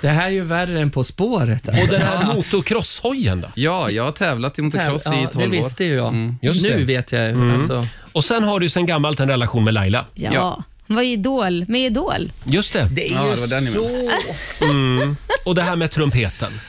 Det här är ju värre än På spåret. Och den här motocrosshojen då? Ja, jag har tävlat i motocross Täv- ja, i 12 år. Mm. det visste ju jag. Just Nu det. vet jag ju. Mm. Alltså. Och sen har du sen gammalt en relation med Laila. Ja. Hon var ju idol, med idol. Just det. Det är Ja, ju det var den jag så- Mm. Och det här med trumpeten.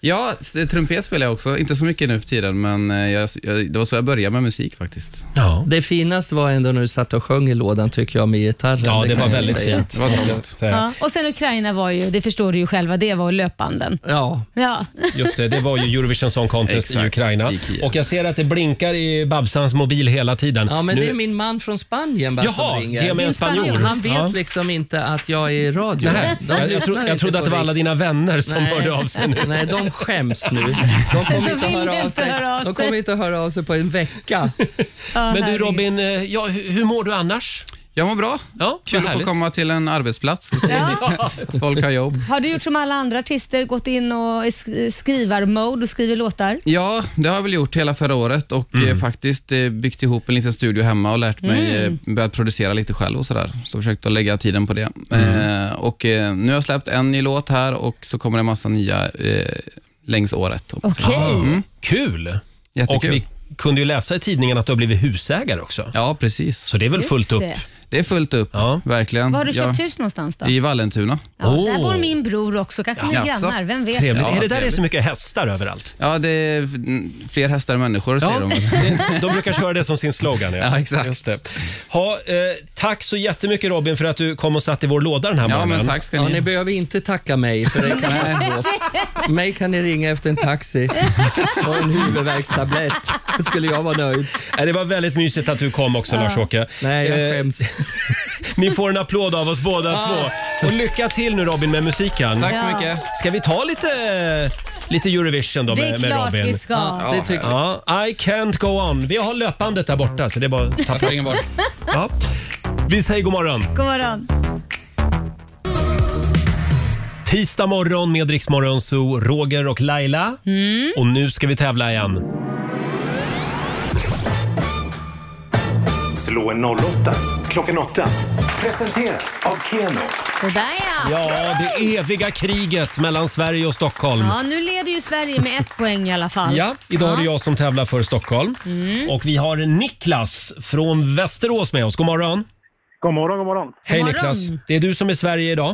Ja, s- eh, trumpet spelar jag också. Inte så mycket nu för tiden, men eh, jag, jag, det var så jag började med musik faktiskt. Det finaste var ändå när du satt och sjöng i lådan tycker jag med gitarren. Ja, det kan var jag väldigt säga. fint. Det var långt. Ja. Och sen Ukraina var ju, det förstår du ju själva, det var löpbanden. Ja. Ja. Just det, det var ju Eurovision Song Contest i Exakt, Ukraina. Och jag ser att det blinkar i Babsans mobil hela tiden. Ja, men det är min man från Spanien bara Jaha, som ringer. ge mig en Din spanjor. Han vet Ja. liksom inte att jag är i radio. Nej, De jag, jag, lyssnar tro, jag inte på trodde att det var alla Riks. dina vänner som Nej. hörde av sig nu. Nej, de skäms nu. De kommer inte, De vill höra, av inte sig. höra av De sig. kommer inte höra av sig på en vecka. Men du Robin, eh, ja, hur hur mår du annars? Jag mår bra. Ja, Kul att få härligt. komma till en arbetsplats och se att folk har jobb. Har du gjort som alla andra artister, gått in och i sk- skrivarmode och skriver låtar? Ja, det har jag väl gjort hela förra året och Mm. eh, faktiskt eh, byggt ihop en liten studio hemma och lärt mig Mm. eh, börjat producera lite själv och sådär. Så försökt att lägga tiden på det. Mm. Eh, och eh, nu har jag släppt en ny låt här och så kommer det en massa nya eh, längs året. också. Mm. Okej. Kul! Jättekul. Och vi kunde ju läsa i tidningen att du har blivit husägare också. Ja, precis. Så det är väl Just fullt upp? det. Det är fullt upp, verkligen. Var har du köpt Ja, hus någonstans då? I Vallentuna. Ja, Där bor min bror också, kanske ni är Jaså. grannar, vem vet? Ja, trevligt. mycket hästar överallt? Ja, det är mm, fler hästar än människor, Ja. säger de. De brukar köra det som sin slogan. Ja, exakt. Just det. Ha, eh, tack så jättemycket Robin för att du kom och satt i vår låda den här morgonen. ja, ni behöver inte tacka mig för det kan jag Nej. stå för. Mig kan ni ringa efter en taxi och en huvudvärkstablett. skulle jag vara nöjd. Det var väldigt mysigt att du kom också Ja. Lars-Åke. Nej, jag skäms. Ni får en applåd av oss båda Ja. två. Och lycka till nu Robin med musiken. Tack så Ja. mycket. Ska vi ta lite, lite Eurovision då Det är med, med klart Robin? vi ska. Ja, det tycker ja. I can't go on. Vi har löpandet där borta så det är bara att tappa ingen bort. Ja. Vi säger god morgon. God morgon. Tisdag morgon med Rix Morgon Zoo, Roger och Laila. Mm. Och nu ska vi tävla igen. Slå en 08 klockan 8. Presenteras av Keno. Sådär ja. Ja, det eviga kriget mellan Sverige och Stockholm. Ja, nu leder ju Sverige med ett poäng i alla fall. Ja, idag är det Ja. jag som tävlar för Stockholm. Mm. Och vi har Niklas från Västerås med oss. God morgon! God morgon, god morgon. Hej God morgon. Niklas! Det är du som är Sverige idag.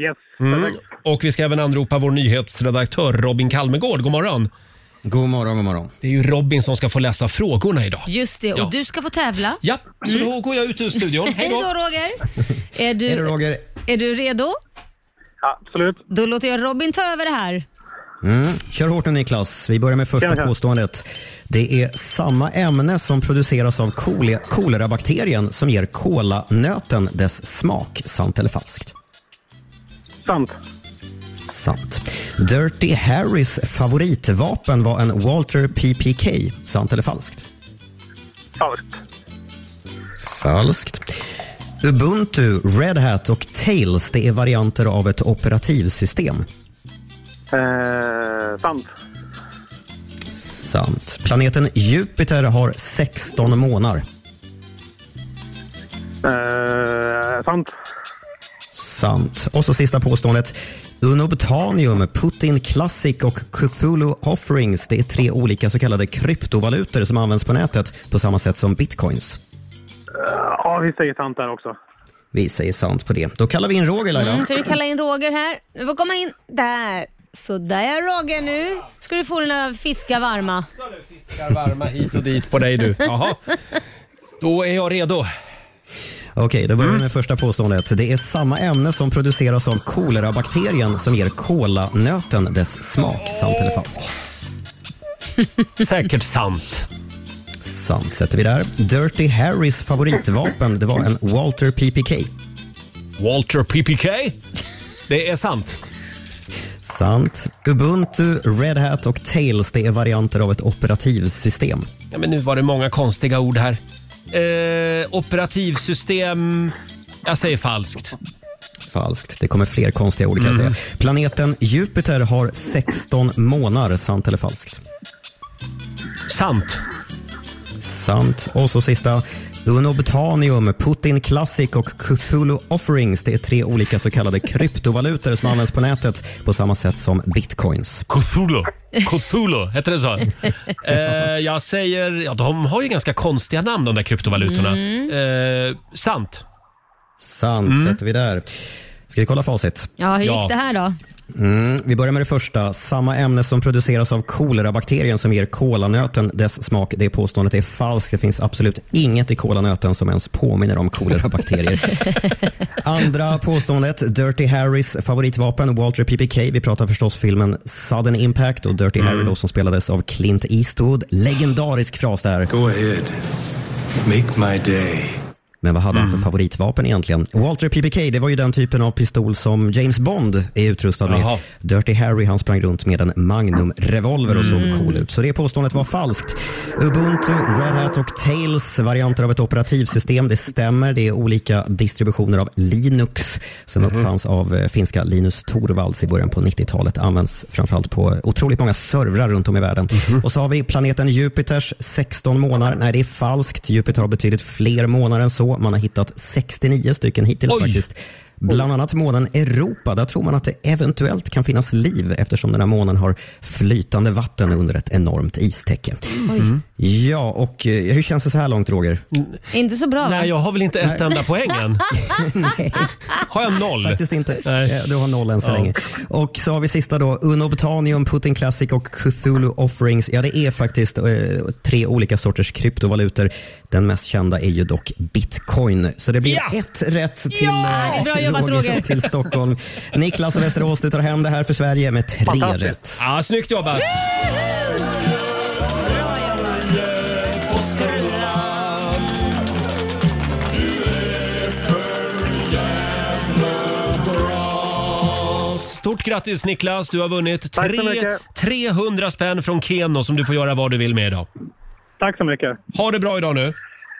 Yes. Mm. Och vi ska även anropa vår nyhetsredaktör Robin Kalmegård. God morgon! God morgon, god morgon. Det är ju Robin som ska få läsa frågorna idag. Just det, och Ja. du ska få tävla. Ja, så då går jag ut ur studion. Hej Hej då då! Roger. Är du, Hej då, Roger. Är du redo? Absolut. Då låter jag Robin ta över det här. Mm. Kör hårt nu Niklas. Vi börjar med första Kör, kör. påståendet. Det är samma ämne som produceras av kole- kolerabakterien som ger kolanöten dess smak. Sant eller falskt? Sant. Sant. Dirty Harrys favoritvapen var en Walter PPK. Sant eller falskt? Falskt. Falskt. Ubuntu, Red Hat och Tails det är varianter av ett operativsystem. Eh, sant. sant. Planeten Jupiter har 16 månar. Eh, sant. Sant. Och så sista påståendet. Unobtanium, Putin Classic och Cthulhu Offerings. Det är tre olika så kallade kryptovalutor som används på nätet på samma sätt som bitcoins. Eh, ja, vi säger sant där också. Vi säger sant på det. Då kallar vi in Roger Laila. Mm, så vi kallar in Roger här. Du får komma in där. Så där är Roger nu. Ska du få dina fiskar varma. Fiskar varma hit och dit på dig du. Jaha. Då är jag redo. Okej, då Mm. börjar vi med första påståendet. Det är samma ämne som produceras av kolerabakterien som ger kolanöten dess smak. Sant eller falskt? Säkert sant. Sant sätter vi där. Dirty Harrys favoritvapen det var en Walter PPK. Walter PPK? Det är sant. Sant. Ubuntu, Red Hat och Tails det är varianter av ett operativsystem. Ja, men nu var det många konstiga ord här. Eh, operativsystem. Jag säger falskt. Falskt. Det kommer fler konstiga ord kan jag Mm. säga. Planeten Jupiter har 16 månar. Sant eller falskt? Sant. Sant. Och så sista. Unobtanium, Putin Classic och Cthulhu Offerings. Det är tre olika så kallade kryptovalutor som används på nätet på samma sätt som bitcoins. Cthulhu. Cthulhu, heter det så? Eh, jag säger... Ja, de har ju ganska konstiga namn de där kryptovalutorna. Mm. Eh, sant. Sant Mm. sätter vi där. Ska vi kolla facit? Ja, hur gick det här då? Mm, vi börjar med det första. Samma ämne som produceras av kolerabakterien som ger kolanöten dess smak. Det påståendet är falskt. Det finns absolut inget i kolanöten som ens påminner om kolerabakterier. Andra påståendet. Dirty Harrys favoritvapen, Walter PPK. Vi pratar förstås filmen Sudden Impact och Dirty Mm. Harry då, som spelades av Clint Eastwood. Legendarisk fras där. Go ahead. Make my day. Mm. Men vad hade han för favoritvapen egentligen? Walter PPK, det var ju den typen av pistol som James Bond är utrustad Jaha. med. Dirty Harry, han sprang runt med en Magnum-revolver och såg Mm. cool ut. Så det påståendet var falskt. Ubuntu, Red Hat och Tails, varianter av ett operativsystem, det stämmer. Det är olika distributioner av Linux som Mhm. uppfanns av eh, finska Linus Torvalds i början på 90-talet. Används framförallt på otroligt många servrar runt om i världen. Mhm. Och så har vi planeten Jupiters 16 månader. Nej, det är falskt. Jupiter har betydligt fler månader än så. Man har hittat 69 stycken hittills Oj. faktiskt. Bland annat månen Europa. Där tror man att det eventuellt kan finnas liv eftersom den här månen har flytande vatten under ett enormt istäcke. Oj. Mhm. Ja, och eh, hur känns det så här långt, Roger? Inte så bra va? Nej, jag har väl inte ett Nej. enda poäng än. Har jag noll? Faktiskt inte. Nej. Eh, Du har noll än så Ja. länge. Och så har vi sista då. Unobtanium, Putin Classic och Cthulhu Offerings. Ja, det är faktiskt eh, tre olika sorters kryptovalutor. Den mest kända är ju dock bitcoin. Så det blir ett rätt till Ja, eh, bra jobbat, Roger. och till Stockholm. Niklas och Västerås, du tar hem det här för Sverige med tre Fantastiskt. rätt. Ja, snyggt jobbat. Stort grattis Niklas, du har vunnit Tack så tre, mycket. 300 spänn från Keno som du får göra vad du vill med idag. Tack så mycket. Ha det bra idag nu.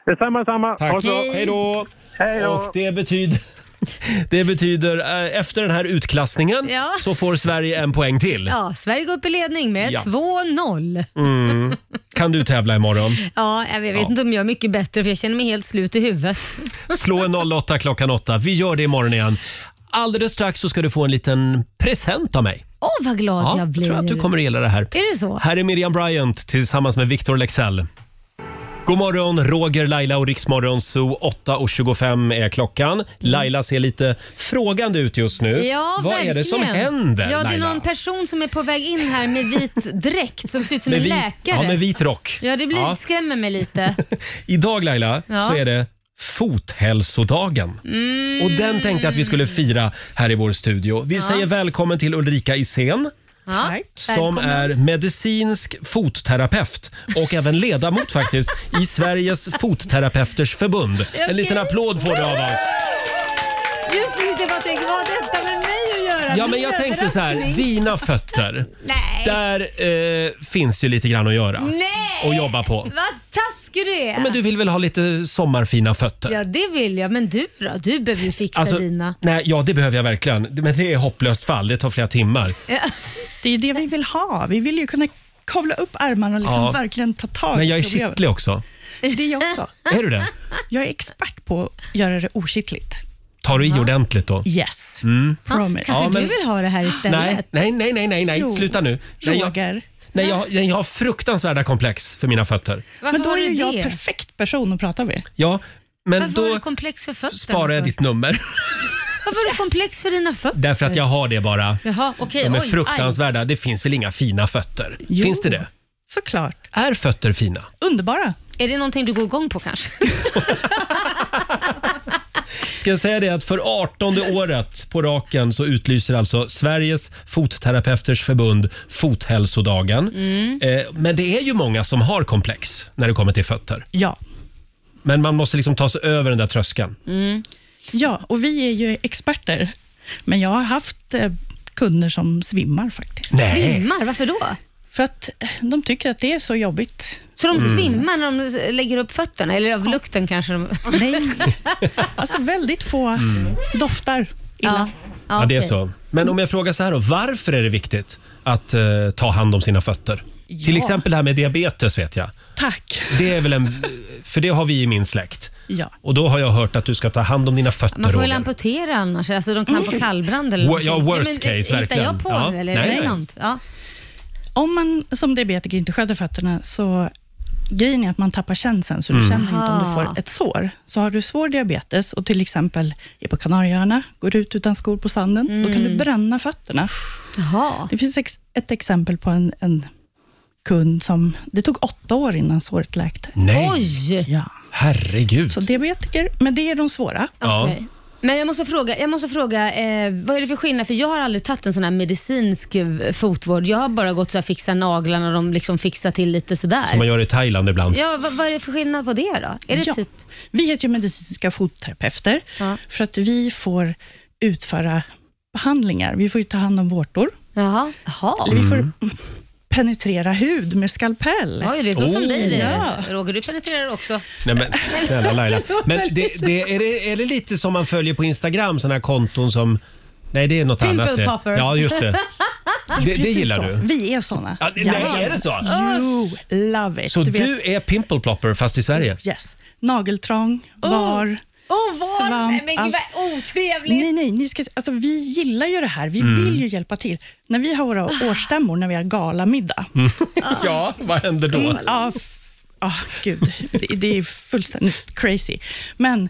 Detsamma, detsamma. Tack. Ha det bra. Hej. Hej då. Hej då. Och det betyder, det betyder eh, efter den här utklassningen Ja. så får Sverige en poäng till. Ja, Sverige går upp i ledning med Ja. 2-0. Mm. Kan du tävla imorgon? Ja, jag vet Ja. inte om jag är mycket bättre för jag känner mig helt slut i huvudet. Slå en 08 klockan 8. Vi gör det imorgon igen. Alldeles strax så ska du få en liten present av mig. Åh, vad glad jag blir. jag tror att du kommer att gilla det här. Är det så? Här är Miriam Bryant tillsammans med Victor Lexell. God morgon, Roger, Laila och Riksmorgon Zoo. 8.25 är klockan. Laila ser lite frågande ut just nu. Mm. Ja, Vad verkligen. är det som händer, Ja, det är Laila? någon person som är på väg in här med vit dräkt som ser ut som Med en vi- läkare. Ja, med vit rock. Ja, det blir, Ja. skrämmer mig lite. Idag, Laila, Ja. så är det fothälsodagen. Mm. Och den tänkte jag att vi skulle fira här i vår studio. Vi Ja. säger välkommen till Ulrika Isén. Ja, som välkommen. är medicinsk fotterapeut och även ledamot faktiskt i Sveriges fotterapeuters förbund. En liten applåd får du av oss. Just det, jag bara tänker, vad har detta med mig att göra? Ja, men Min jag tänkte så här, överraskning. dina fötter. Nej. Där eh, finns ju lite grann att göra Nej! och jobba på. Vad taskig du är. Ja, Men du vill väl ha lite sommarfina fötter? Ja, det vill jag. Men du då? Du behöver ju fixa Alltså, dina. Nej, ja, det behöver jag verkligen. Men det är hopplöst fall. Det tar flera timmar. Ja. Det är det vi vill ha. Vi vill ju kunna kavla upp armarna och liksom Ja. verkligen ta tag Men jag är i problemet. kittlig också. Det är jag också. Är du det? Jag är expert på att göra det okittligt. Tar du i ordentligt då? Yes. Mm. Promise. Ja, men- Alltså, ha det här Nej, nej, nej, nej, nej, nej. Jo. sluta nu. Nej, jag, Roger. nej, jag, jag har fruktansvärda komplex för mina fötter. Men då har är du ju jag det? perfekt person att prata med. Ja, men Varför har då du komplex för fötterna? sparar jag för? ditt nummer. Varför har du komplex för dina fötter? Därför att jag har det bara. Jaha, okej. De är oj, fruktansvärda. Det finns väl inga fina fötter? Jo. Finns det det? Såklart. Är fötter fina? Underbara. Är det någonting du går igång på kanske? Ska jag säga det att för 18 året på raken så utlyser alltså Sveriges fotterapeuters förbund Fothälsodagen. Mm. Eh, Men det är ju många som har komplex när det kommer till fötter. Ja. Men man måste liksom ta sig över den där tröskeln. Mm. Ja, och vi är ju experter. Men jag har haft eh, kunder som svimmar faktiskt. Nej. Svimmar? Varför då? För att eh, de tycker att det är så jobbigt. Så de Mm. svimmar när de lägger upp fötterna? Eller av lukten kanske? De... Nej. Alltså väldigt få doftar illa. Mm. Ah, Ja, det är så. Men om jag frågar så här då, varför är det viktigt att eh, ta hand om sina fötter? Till Ja. exempel det här med diabetes vet jag. Tack. Det är väl en, för det har vi i min släkt. Ja. Och då har jag hört att du ska ta hand om dina fötter, Man får väl Roger. amputera annars. Alltså, de Mm. kan få kallbrand eller Wo- någonting. ja, worst men, case, Hittar verkligen. jag på Ja, nu eller nej, är det nej. sant? Ja. Om man som diabetiker inte sköter fötterna så grejen är att man tappar känseln, så du Mm. känner inte om du Aha. får ett sår. Så har du svår diabetes och till exempel är på Kanarieöarna, går ut utan skor på sanden, då kan du Mm. bränna fötterna. Det finns ex- ett exempel på en, en kund som, det tog åtta år innan såret läkte. Nej. Oj! Ja. Herregud. Så diabetiker, men det är de svåra. Ja. Okej. Men jag måste fråga, jag måste fråga eh, vad är det för skillnad? För jag har aldrig tagit en sån här medicinsk eh, fotvård. Jag har bara gått så här fixa naglarna och de liksom fixar till lite sådär. Som man gör i Thailand ibland. Ja, vad, vad är det för skillnad på det då? Är det Ja. typ... Vi heter ju medicinska fotterapeuter för att vi får utföra behandlingar. Vi får ju ta hand om vårtor. Jaha. Eller vi får Mm. penetrera hud med skalpell. Oj, det är så som Oh. dig det. Ja. Roger, du penetrerar också. Nej men snälla Laila. Men det, det, är, det, är det lite som man följer på Instagram, sådana här konton som... Nej, det är något Pimple annat. det. popper. Ja, just det. Det, det Ah, Precis gillar så. du. Vi är såna. Ja, det- nej, är det så? Jo, love it. Så du, vet, Mm, är pimple plopper fast i Sverige? Yes. Nageltrång, var, oh, var. svamp. Men gud, vad otrevligt. Nej, nej, ni ska, alltså, vi gillar ju det här. Vi Mm. vill ju hjälpa till. När vi har våra Ah. årsstämmor, när vi har galamiddag. Mm. ja, vad händer då? Mm, ja, f- ja, gud. Det, det är fullständigt crazy. Men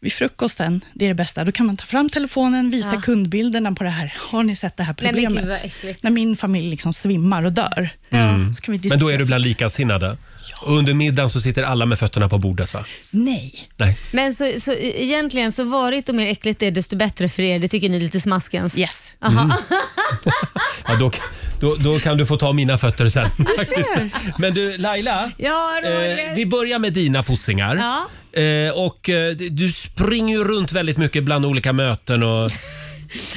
vid frukosten, det är det bästa. Då kan man ta fram telefonen, visa Ja. kundbilderna på det här. Har ni sett det här Nej, men gud, problemet? vad äckligt. När min familj liksom svimmar och dör. Mm. Så kan vi Men då diskutera. är du bland likasinnade? Och under middagen så sitter alla med fötterna på bordet va? Nej. Nej. Men så, så e- egentligen, så varigt och mer äckligt det är, desto bättre för er. Det tycker ni är lite smaskens? Yes. Aha. Mm. Ja, då, då, då kan du få ta mina fötter sen. faktiskt. Men du Laila, eh, Ja, Roger. vi börjar med dina fossingar. Ja. Eh, och eh, du springer ju runt väldigt mycket bland olika möten och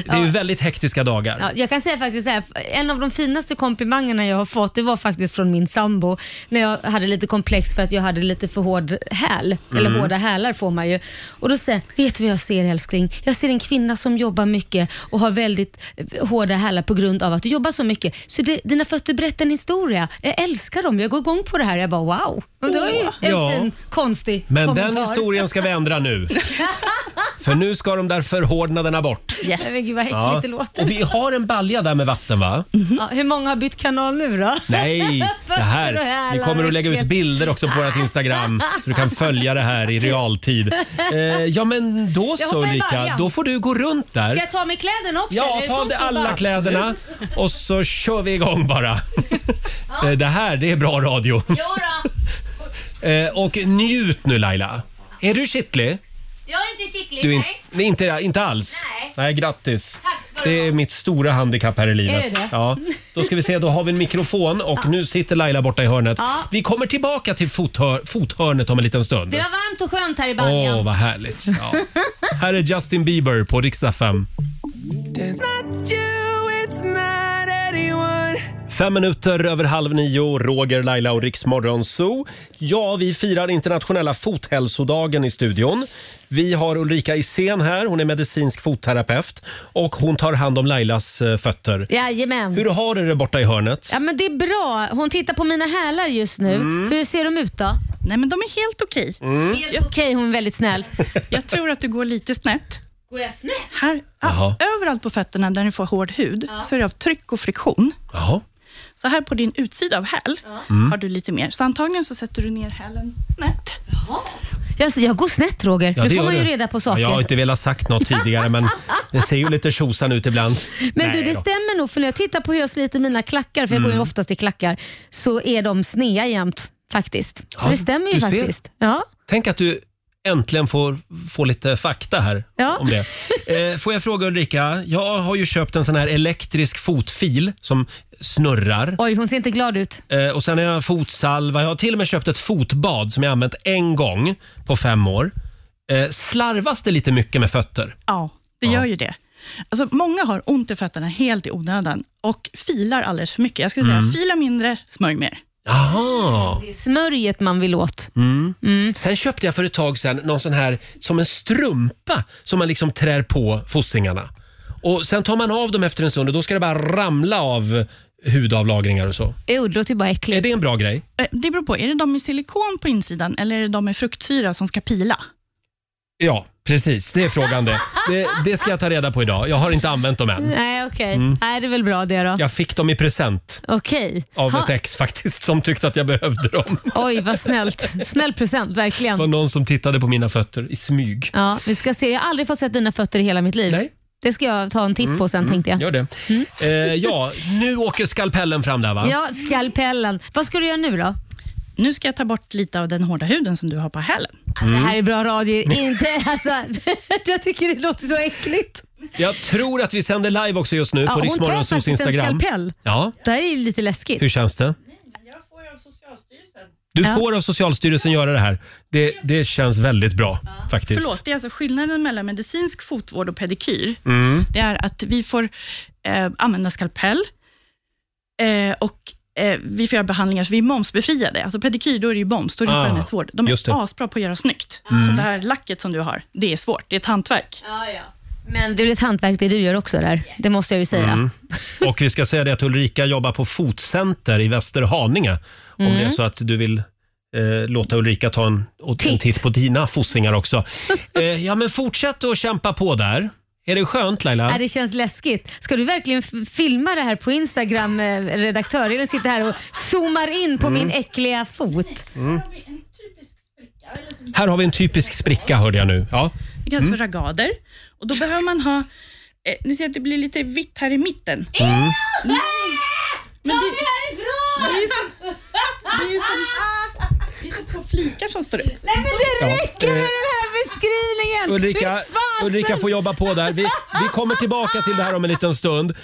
det är ju väldigt hektiska dagar. Ja, jag kan säga faktiskt så här, en av de finaste komplimangerna jag har fått det var faktiskt från min sambo när jag hade lite komplex för att jag hade lite för hård häl, eller Mm. hårda hälar får man ju. Och då säger jag, vet du vad jag ser älskling? Jag ser en kvinna som jobbar mycket och har väldigt eh, hårda hälar på grund av att du jobbar så mycket. Så det, dina fötter berättar en historia. Jag älskar dem, jag går igång på det här. Jag bara wow. Och det var ju en Ja. fin, konstig Men kommentar. den historien ska vi ändra nu. För nu ska de där förhårdnaderna bort. Yes. Men gud vad äckligt Ja. det låter. Och vi har en balja där med vatten va? Ja, hur många har bytt kanal nu då? Nej, det Fötter och här. hälar Vi kommer och att lägga ut äckligt. bilder också på vårt Instagram så du kan följa det här i realtid. Eh, ja, men då Jag så hoppar i Ulrika. början. Då får du gå runt där. Ska jag ta med kläderna också? Ja, Eller är det ta så av dig stor alla bara? kläderna och så kör vi igång bara. Eh, Det här, det är bra radio. Eh, Och njut nu Laila. Är du kittlig? Jag är inte kittlig, Du är in, nej. nej, inte, inte alls? Nej. grattis. Tack ska du Det är mitt stora handikapp här i livet. Är det det? Ja. Då ska vi se, då har vi en mikrofon och nu sitter Laila borta i hörnet. Ja. Vi kommer tillbaka till fothör, fothörnet om en liten stund. Det var varmt och skönt här i Åh, baljan. vad härligt. Ja. här är Justin Bieber på riksdag 5. Fem minuter över halv nio, Roger, Laila och Riksmorgon Zoo. Ja, vi firar internationella fothälsodagen i studion. Vi har Ulrika Isén här, hon är medicinsk fotterapeut och hon tar hand om Lailas eh, fötter. Jajamän. Hur har du det borta i hörnet? Ja, men det är bra. Hon tittar på mina hälar just nu. Mm. Hur ser de ut då? Nej, men de är helt okej. Mm. Helt okej, hon är väldigt snäll. Jag tror att du går lite snett. Går jag snett? Här, ja, överallt på fötterna där du får hård hud så är det av tryck och friktion. Jaha. Så här på din utsida av häl Mm. har du lite mer. Så antagligen så sätter du ner hälen snett. Jag, jag går snett Roger. Ja, nu får det gör man ju du. reda på saker. Ja, jag har inte velat sagt något tidigare men det ser ju lite tjosan ut ibland. Men Nej du, det då. stämmer nog för när jag tittar på hur jag sliter mina klackar, för jag går Mm. ju oftast i klackar, så är de snea jämt faktiskt. Så Ja, det stämmer du ju ser. faktiskt. Ja. Tänk att du äntligen får, får lite fakta här Ja. om det. Eh, får jag fråga Ulrika, jag har ju köpt en sån här elektrisk fotfil som snurrar. Oj, hon ser inte glad ut. Eh, och sen har jag fotsalva. Jag har till och med köpt ett fotbad som jag använt en gång på fem år. Eh, slarvas det lite mycket med fötter? Ja, det gör ju det. Alltså, många har ont i fötterna helt i onödan och filar alldeles för mycket. Jag skulle säga Mm. fila mindre, smörj mer. Jaha. Det är smörjet man vill åt. Mm. Sen köpte jag för ett tag sedan någon sån här som en strumpa som man liksom trär på fossingarna. Och sen tar man av dem efter en stund och då ska det bara ramla av hudavlagringar och så. Jo, det låter ju bara äckligt. Är det en bra grej? Eh, Det beror på, är det de med silikon på insidan eller är det de med fruktsyra som ska pila? Ja, precis. Det är frågan det. Det, det ska jag ta reda på idag. Jag har inte använt dem än. Nej, okej. Mm. Nej, det är väl bra det då. Jag fick dem i present Okej. av Ha- ett ex faktiskt som tyckte att jag behövde dem. Oj, vad snällt. Snäll present, Det var verkligen. någon som tittade på mina fötter i smyg. Ja, vi ska se. Jag har aldrig fått sett dina fötter i hela mitt liv. Nej. Mm, Det ska jag ta en titt på sen, tänkte jag. Mm. Gör det. Eh, ja, nu åker skalpellen fram där va? Ja, skalpellen. Vad ska du göra nu då? Nu ska jag ta bort lite av den hårda huden som du har på hälen. Alltså, Det Mm. här är bra radio. Inte, alltså, jag tycker det låter så äckligt. Jag tror att vi sänder live också just nu Ja, på hon tar Riksmorgonsols faktiskt en Instagram. skalpell. Ja. Det här är ju lite läskigt. Hur känns det? Du får av Socialstyrelsen göra det här. Det, det känns väldigt bra faktiskt. Förlåt, det är alltså skillnaden mellan medicinsk fotvård och pedikyr. Mm. Det är att vi får eh, använda skalpell eh, och eh, vi får göra behandlingar, så vi är momsbefriade. Alltså pedikyr, då är det ju moms, då är det Ah, skönhetsvård. De just det. är asbra på att göra snyggt. Mm. Så det här lacket som du har, det är svårt. Det är ett hantverk. Men det är väl ett hantverk det du gör också där. Det måste jag ju säga. Mm. Och vi ska säga det att Ulrika jobbar på Fotcenter i Västerhaninge. Om Mm. det är så att du vill eh, låta Ulrika ta en, och- en titt på dina fossingar också. Eh, ja, men fortsätt att kämpa på där. Är det skönt Laila? Nej, det känns läskigt. Ska du verkligen f- filma det här på Instagram, eh, redaktör? Eller sitter här och zoomar in på Mm. min äckliga fot? Mm. Här har vi en typisk spricka hörde jag nu. Ja. Det kallas Mm. för ragader. Och då behöver man ha... Eh, ni ser att det blir lite vitt här i mitten. Mm. Nej, men Ta det, mig härifrån! det är ju som, det är ju som, ah. det är som två flikar som står upp. Nej, men det Ja, räcker med eh, den här beskrivningen! Ulrika, Fy fasen! Ulrika får jobba på där. Vi, vi kommer tillbaka till det här om en liten stund.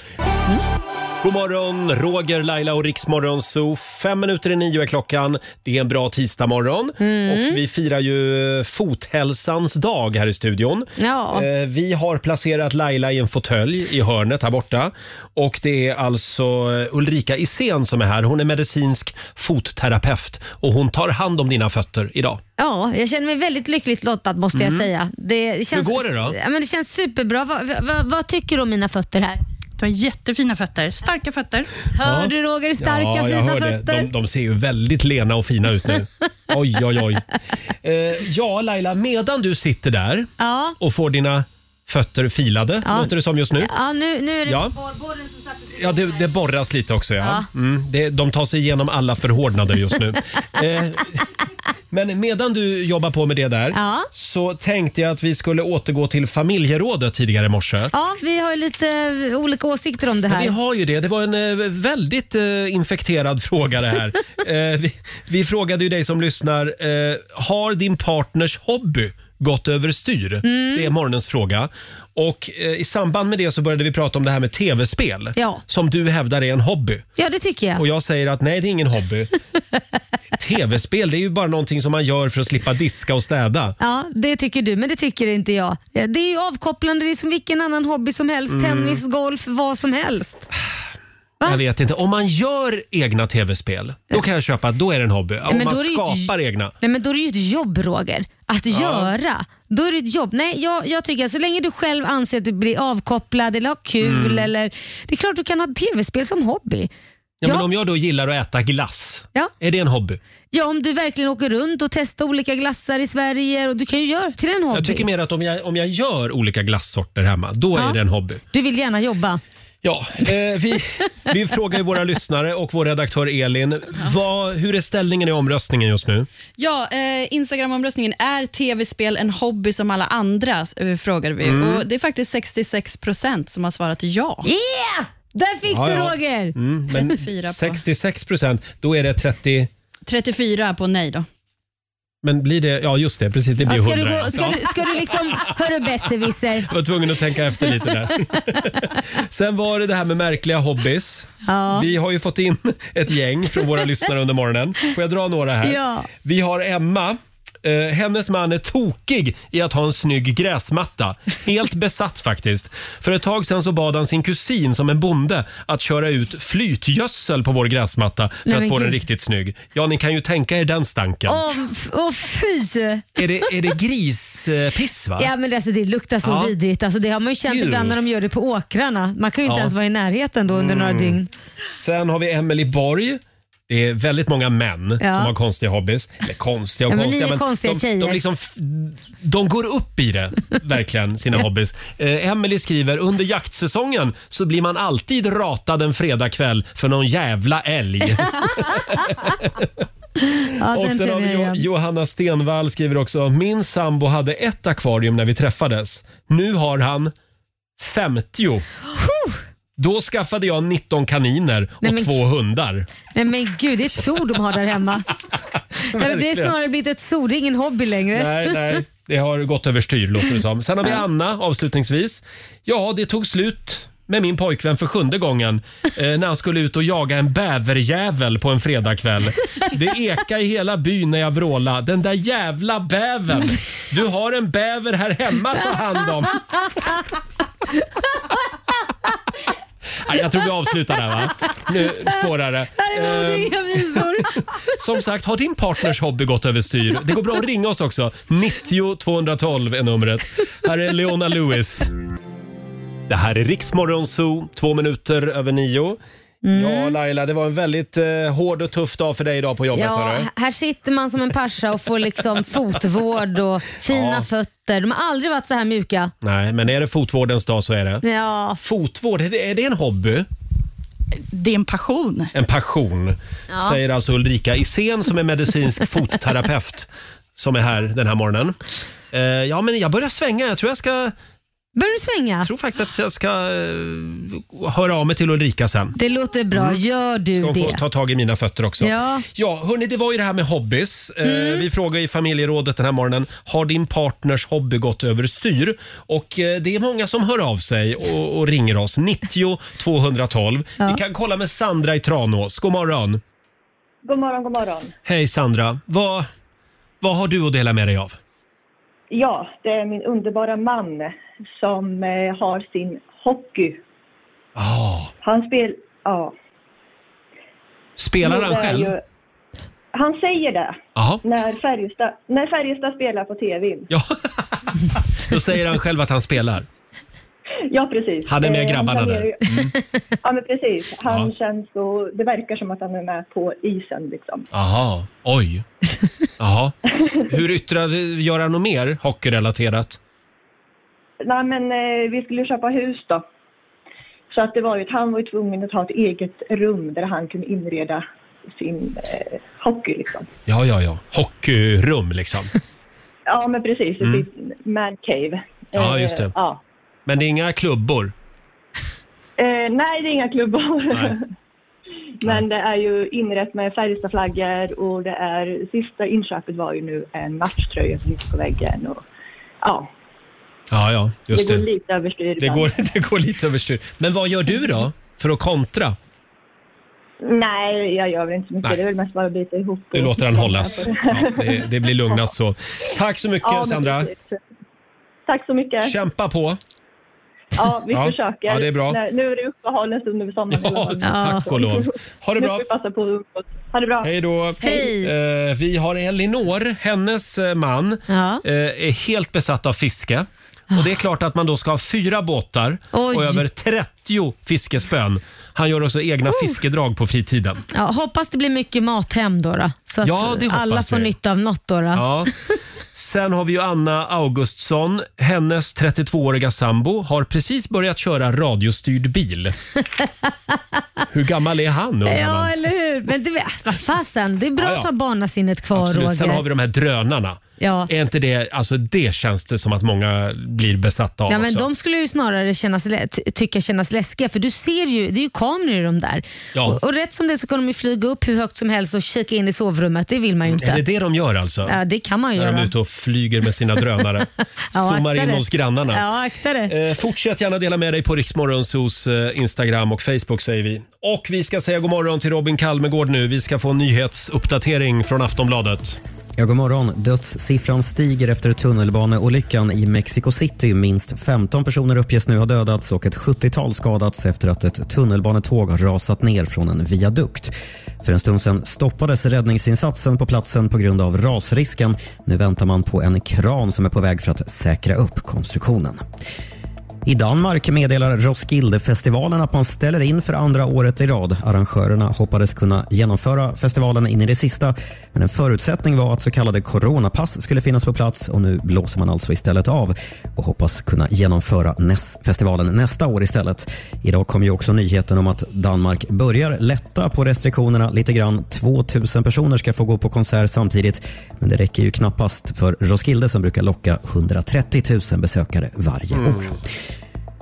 God morgon, Roger, Laila och Riksmorgon Zoo. Fem minuter i nio är klockan. Det är en bra tisdagmorgon Mm. och vi firar ju fothälsans dag här i studion. Ja. Eh, Vi har placerat Laila i en fåtölj i hörnet här borta och det är alltså eh, Ulrika Isén som är här. Hon är medicinsk fotterapeut och hon tar hand om dina fötter idag. Ja, jag känner mig väldigt lyckligt lottad måste Mm. jag säga. Det känns, går det då? Ja, men det känns superbra. Vad, vad, vad tycker du om mina fötter här? Du har jättefina fötter. Starka fötter. Hör du Roger? Starka ja, jag fina hör det. fötter. De, de ser ju väldigt lena och fina ut nu. Oj, oj, oj. Eh, ja, Laila, medan du sitter där Ja. och får dina fötter filade, Ja. låter det som just nu. Ja, nu, nu är det Ja. borren som satt Ja, det, det borras lite också. Ja. Mm, det, de tar sig igenom alla förhårdnader just nu. eh, men medan du jobbar på med det där Ja. så tänkte jag att vi skulle återgå till familjerådet tidigare i morse. Ja, vi har ju lite eh, olika åsikter om det Ja, här. vi har ju det. Det var en eh, väldigt eh, infekterad fråga det här. eh, vi, vi frågade ju dig som lyssnar, eh, har din partners hobby gått överstyr? Mm. Det är morgonens fråga. Och eh, i samband med det så började vi prata om det här med tv-spel. Ja. Som du hävdar är en hobby. Ja, det tycker jag. Och jag säger att nej, det är ingen hobby. tv-spel, det är ju bara någonting som man gör för att slippa diska och städa. Ja, det tycker du, men det tycker inte jag. Eh, Det är ju avkopplande, det är som vilken annan hobby som helst. Mm. Tennis, golf, vad som helst. Jag vet inte. Om man gör egna tv-spel, då kan jag köpa att då är det en hobby. Om men man då är det ju ett- skapar egna. Nej, men då är det ju ett jobb Roger, att göra. Då är det ett jobb. Nej, jag, jag tycker att så länge du själv anser att du blir avkopplad eller har kul Mm. eller... Det är klart du kan ha tv-spel som hobby. Ja, men om jag då gillar att äta glass, Ja. är det en hobby? Ja, om du verkligen åker runt och testar olika glassar i Sverige. Och du kan ju göra till en hobby. Jag tycker mer att om jag, om jag gör olika glassorter hemma, då Ja. är det en hobby. Du vill gärna jobba. Ja, eh, vi, vi frågar ju våra lyssnare och vår redaktör Elin, vad, hur är ställningen i omröstningen just nu? Ja, eh, Instagram-omröstningen är tv-spel en hobby som alla andra, eh, frågar vi. Mm. Och det är faktiskt 66 procent som har svarat ja. Yeah! Där fick Ja, du ja. Roger! Mm, men 34 på. 66 procent, då är det 30... 34 på nej då. Men blir det... Ja, just det. Precis, det blir Ja, ska, du 100. gå, ska, ja. du, ska du liksom... Hörru besserwisser. Jag var tvungen att tänka efter lite där. Sen var det det här med märkliga hobbys. Ja. Vi har ju fått in ett gäng från våra lyssnare under morgonen. Får jag dra några här? Ja. Vi har Emma. Eh, hennes man är tokig i att ha en snygg gräsmatta. Helt besatt faktiskt. För ett tag sedan så bad han sin kusin som en bonde att köra ut flytgödsel på vår gräsmatta för Nej, att men få den gud. riktigt snygg. Ja, ni kan ju tänka er den stanken. Åh, f- åh, fy! Är, det, är det grispiss va? Ja, men det, alltså, det luktar så Ja. vidrigt. Alltså, det har man ju känt Djur. ibland när de gör det på åkrarna. Man kan ju inte Ja. ens vara i närheten då under några Mm. dygn. Sen har vi Emily Borg. Det är väldigt många män Ja. som har konstiga hobbys. Eller konstiga och Ja, men ni konstiga. är konstiga de, tjejer. De, liksom, f- de går upp i det, verkligen, sina hobbys. Eh, Emily skriver, under jaktsäsongen så blir man alltid ratad en fredagkväll för någon jävla älg. Ja, och den sen känner har vi jag Jo- igen. Johanna Stenvall skriver också, min sambo hade ett akvarium när vi träffades. Nu har han 50. Då skaffade jag 19 kaniner och Nej, men- två hundar. Nej men gud, det är ett zoo de har där hemma. Nej, men det är Verkligen. snarare blivit ett zoo, det är ingen hobby längre. Nej, nej. Det har gått överstyr låter det som. Sen har vi Anna avslutningsvis. Ja, det tog slut med min pojkvän för sjunde gången eh, när han skulle ut och jaga en bäverjävel på en fredagkväll. Det ekade i hela byn när jag vrålade. Den där jävla bävern! Du har en bäver här hemma att ta hand om. Nej, jag tror vi avslutar där va? Nu spårar det. Det var Eh, inga visor. som sagt, har din partners hobby gått överstyr? Det går bra att ringa oss också. 90 212 är numret. Här är Leona Lewis. Det här är Riksmorgon Zoo, två minuter över nio. Mm. Ja, Laila, det var en väldigt eh, hård och tuff dag för dig idag på jobbet. Ja, hörru. här sitter man som en pascha och får liksom fotvård och fina Ja. fötter. De har aldrig varit så här mjuka. Nej, men är det fotvårdens dag så är det. Ja. Fotvård, är det, är det en hobby? Det är en passion. En passion, Ja. säger alltså Ulrika Isen som är medicinsk fotterapeut som är här den här morgonen. Eh, ja, men jag börjar svänga. Jag tror jag ska... Börjar du svänga? Jag tror faktiskt att jag ska eh, höra av mig till Ulrika sen. Det låter bra, Mm. gör du Ska hon få det. ta tag i mina fötter också. Ja. Mm. ja hörni, det var ju det här med hobbys. Eh, Vi frågar i familjerådet den här morgonen, har din partners hobby gått överstyr? Och eh, det är många som hör av sig och, och ringer oss. 90 212. Vi kan kolla med Sandra i Tranås. God morgon. God morgon, god morgon. Hej Sandra. Vad, vad har du att dela med dig av? Ja, det är min underbara man som eh, har sin hockey. Ah. Han spel... Ja. Spelar Det han är själv? ju- han säger det. Jaha. När Färjestad, när Färjestad spelar på tv. Då säger han själv att han spelar. Ja, precis. Han är med Eh, grabbarna planerar där. Mm. ju- Ja, men precis. Han Ja. känns så... Det verkar som att han är med på isen liksom. Aha, oj. Aha. Hur yttrar, gör han något mer hockeyrelaterat? Nej, men eh, vi skulle ju köpa hus då. Så att det var ju att han var ju tvungen att ha ett eget rum där han kunde inreda sin eh, hockey liksom. Ja, ja, ja. Hockeyrum liksom. Ja, men precis. Mm. Mm. Man cave. Ja, Eh, just det. Ja. Men det är inga klubbor? Eh, nej, det är inga klubbar. Nej. Men det är ju inrett med Färjestadflaggor och det är sista inköpet var ju nu en matchtröja som sitter på väggen och ja, Ja, ja, just det går det. lite överstyr Det ibland. går, det går lite överstyr. Men vad gör du då för att kontra? Nej, jag gör väl inte så mycket. Nej. Det är väl mest bara att bita ihop. Du och- låter han hållas. Ja, det, det blir lugnast så. Tack så mycket Ja, men Sandra. precis. Tack så mycket. Kämpa på. Ja, vi Ja. försöker. Ja, det är bra. Nej, Nu är det uppehåll en stund över sommaren. Ja, tack och lov. Ha det bra. Nu får vi passa på att umgås. Ha det bra. Hej då. Eh, vi har Elinor, hennes eh, man, Ja. eh, är helt besatt av fiske. Och Det är klart att man då ska ha fyra båtar och Oj. över 30 fiskespön. Han gör också egna Oh. fiskedrag på fritiden. Ja, hoppas det blir mycket mat hem då, då så att Ja, det hoppas alla får vi. nytta av något. Då, då. Ja. Sen har vi ju Anna Augustsson. Hennes 32-åriga sambo har precis börjat köra radiostyrd bil. Hur gammal är han? undrar man? Ja, eller hur? Men det, äh, vad fasen, det är bra Ja, ja. att ha barnasinnet kvar, Absolut. Sen Roger. har vi de här drönarna. Ja. Är inte det, alltså det känns det som att många blir besatta av Ja, men också. de skulle ju snarare kännas, lä- ty- tycka kännas läskiga för du ser ju, det är ju kameror i de där. Ja. Och, och rätt som det så kan de ju flyga upp hur högt som helst och kika in i sovrummet. Det vill man ju inte. Är det det de gör alltså? Ja, det kan man ju När de är göra. ute och flyger med sina drönare. Zoomar akta in dig. hos grannarna. Ja, akta dig. Eh, fortsätt gärna dela med dig på Riksmorgonsos eh, Instagram och Facebook säger vi. Och vi ska säga god morgon till Robin Kalmegård nu. Vi ska få en nyhetsuppdatering från Aftonbladet. Ja, god morgon. Dödssiffran stiger efter tunnelbaneolyckan i Mexico City. Minst 15 personer uppges nu ha dödats och ett 70-tal skadats efter att ett tunnelbanetåg har rasat ner från en viadukt. För en stund sedan stoppades räddningsinsatsen på platsen på grund av rasrisken. Nu väntar man på en kran som är på väg för att säkra upp konstruktionen. I Danmark meddelar Roskildefestivalen att man ställer in för andra året i rad. Arrangörerna hoppades kunna genomföra festivalen in i det sista, men en förutsättning var att så kallade coronapass skulle finnas på plats och nu blåser man alltså istället av och hoppas kunna genomföra näs- festivalen nästa år istället. Idag kom ju också nyheten om att Danmark börjar lätta på restriktionerna lite grann. 2000 personer ska få gå på konsert samtidigt, men det räcker ju knappast för Roskilde som brukar locka 130 000 besökare varje år.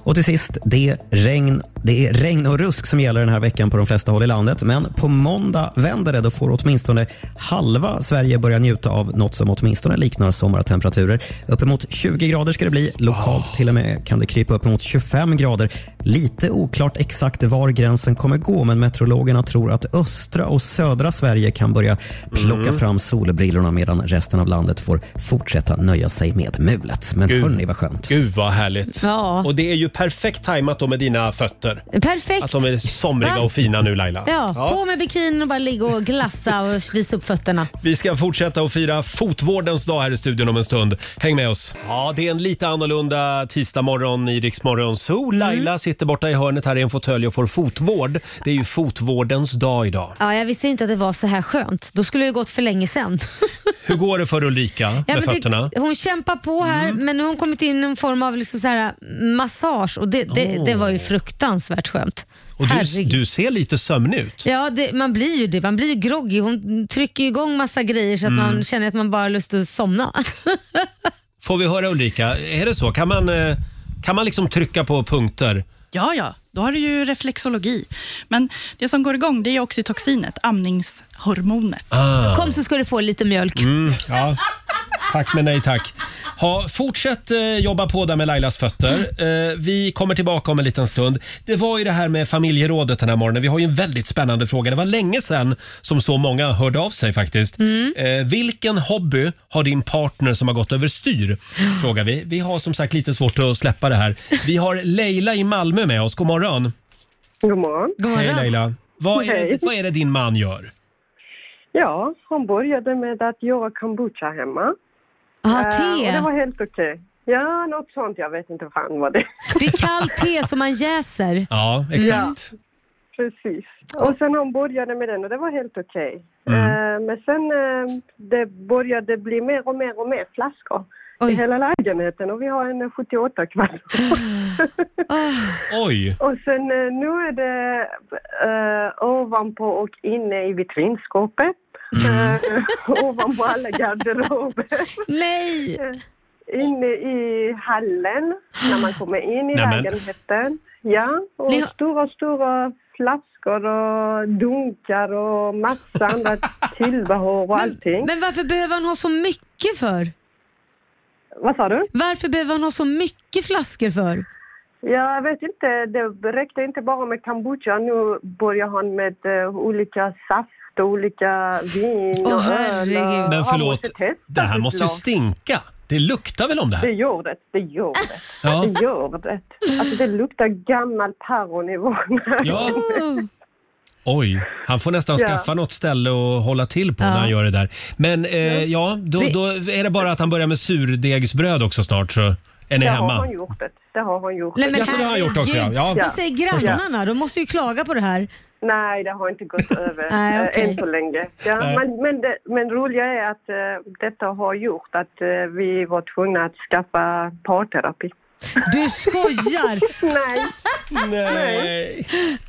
Och till sist, det, regn, det är regn och rusk som gäller den här veckan på de flesta håll i landet. Men på måndag vänder det. Då får åtminstone halva Sverige börja njuta av något som åtminstone liknar sommartemperaturer. Uppemot 20 grader ska det bli. Lokalt Ah. till och med kan det krypa uppemot 25 grader. Lite oklart exakt var gränsen kommer gå, men meteorologerna tror att östra och södra Sverige kan börja plocka Mm. fram solbrillorna medan resten av landet får fortsätta nöja sig med mulet. Men hörni vad skönt. Gud vad härligt. Ja. Och det är ju perfekt tajmat då med dina fötter. Perfekt. Att de är somriga Va? och fina nu Laila. Ja, På med bikinin och bara ligga och glassa och visa upp fötterna. Vi ska fortsätta att fira fotvårdens dag här i studion om en stund. Häng med oss. Ja, det är en lite annorlunda tisdagmorgon i Rix Morgon Zoo. Laila sitter borta i hörnet här i en fåtölj och får fotvård. Det är ju fotvårdens dag idag. Ja, jag visste inte att det var så här skönt. Då skulle det ju gått för länge sedan. Hur går det för Ulrika med Ja, men fötterna? Mm. Det, hon kämpar på här, men nu har hon kommit in i en form av liksom så här massage och det, det, det var ju fruktansvärt skönt. Och du, Herregud. du ser lite sömnig ut. Ja, det, man blir ju det. Man blir ju groggy. Hon trycker ju igång massa grejer så att Mm. man känner att man bara har lust att somna. Får vi höra Ulrika, är det så? Kan man, eh, kan man liksom trycka på punkter? Ja, ja, då har du ju reflexologi. Men det som går igång det är oxytoxinet, amningshormonet. Ah. Så kom så ska du få lite mjölk. Mm, ja. Tack men nej tack. Ha, fortsätt eh, jobba på där med Lailas fötter. Eh, vi kommer tillbaka om en liten stund. Det var ju det här med familjerådet den här morgonen. Vi har ju en väldigt spännande fråga. Det var länge sedan som så många hörde av sig faktiskt. Mm. Eh, vilken hobby har din partner som har gått överstyr? Frågar vi. Vi har som sagt lite svårt att släppa det här. Vi har Leila i Malmö med oss. God morgon. God morgon. Hej Leila. Vad är, Hej. det, vad är det din man gör? Ja, hon började med att göra kombucha hemma. Ah, Eh, te. och det var helt okej. Ja, något sånt. Jag vet inte fan vad det är. Det är kallt te som man jäser. Ja, exakt. Precis. Och sen hon började med den och det var helt okej. Mm. Eh, men sen eh, det började bli mer och mer och mer flaskor i hela lägenheten och vi har en 78 kvadrat. Ah. Oj! Och sen eh, nu är det eh, ovanpå och inne i vitrinskåpet. Eh, ovanpå alla garderober. Eh, Nej! Inne i hallen, när man kommer in i Nämen. lägenheten. Ja, och Ni har- stora, stora flaskor och dunkar och massa andra tillbehör och allting. Men varför behöver han ha så mycket för? Vad sa du? Varför behöver han ha så mycket flaskor för? Ja, jag vet inte. Det räckte inte bara med kombucha. Nu börjar han med eh, olika saft och olika vin Åh, och öl. och- Men han förlåt, måste testa det här måste ju såklart. stinka. Det luktar väl om det Det här? gör det, det gör det. Ja. Det gör det. Alltså det luktar gammal päron i våningen. Ja. Oj, han får nästan Ja. skaffa något ställe att hålla till på Ja. när han gör det där. Men eh, ja, då, Vi- då är det bara att han börjar med surdegsbröd också snart så är ni det hemma. Har han gjort det. det har han gjort. Nej, men Jaså, det har han gjort också, ja. Ja, Vad säger förstås. grannarna? De måste ju klaga på det här. Nej, det har inte gått över Nej, eh, okej. än så länge. Ja, Nej. men, men, det, men roliga är att eh, detta har gjort att eh, vi var tvungna att skaffa parterapi. Du skojar! Nej. Nej.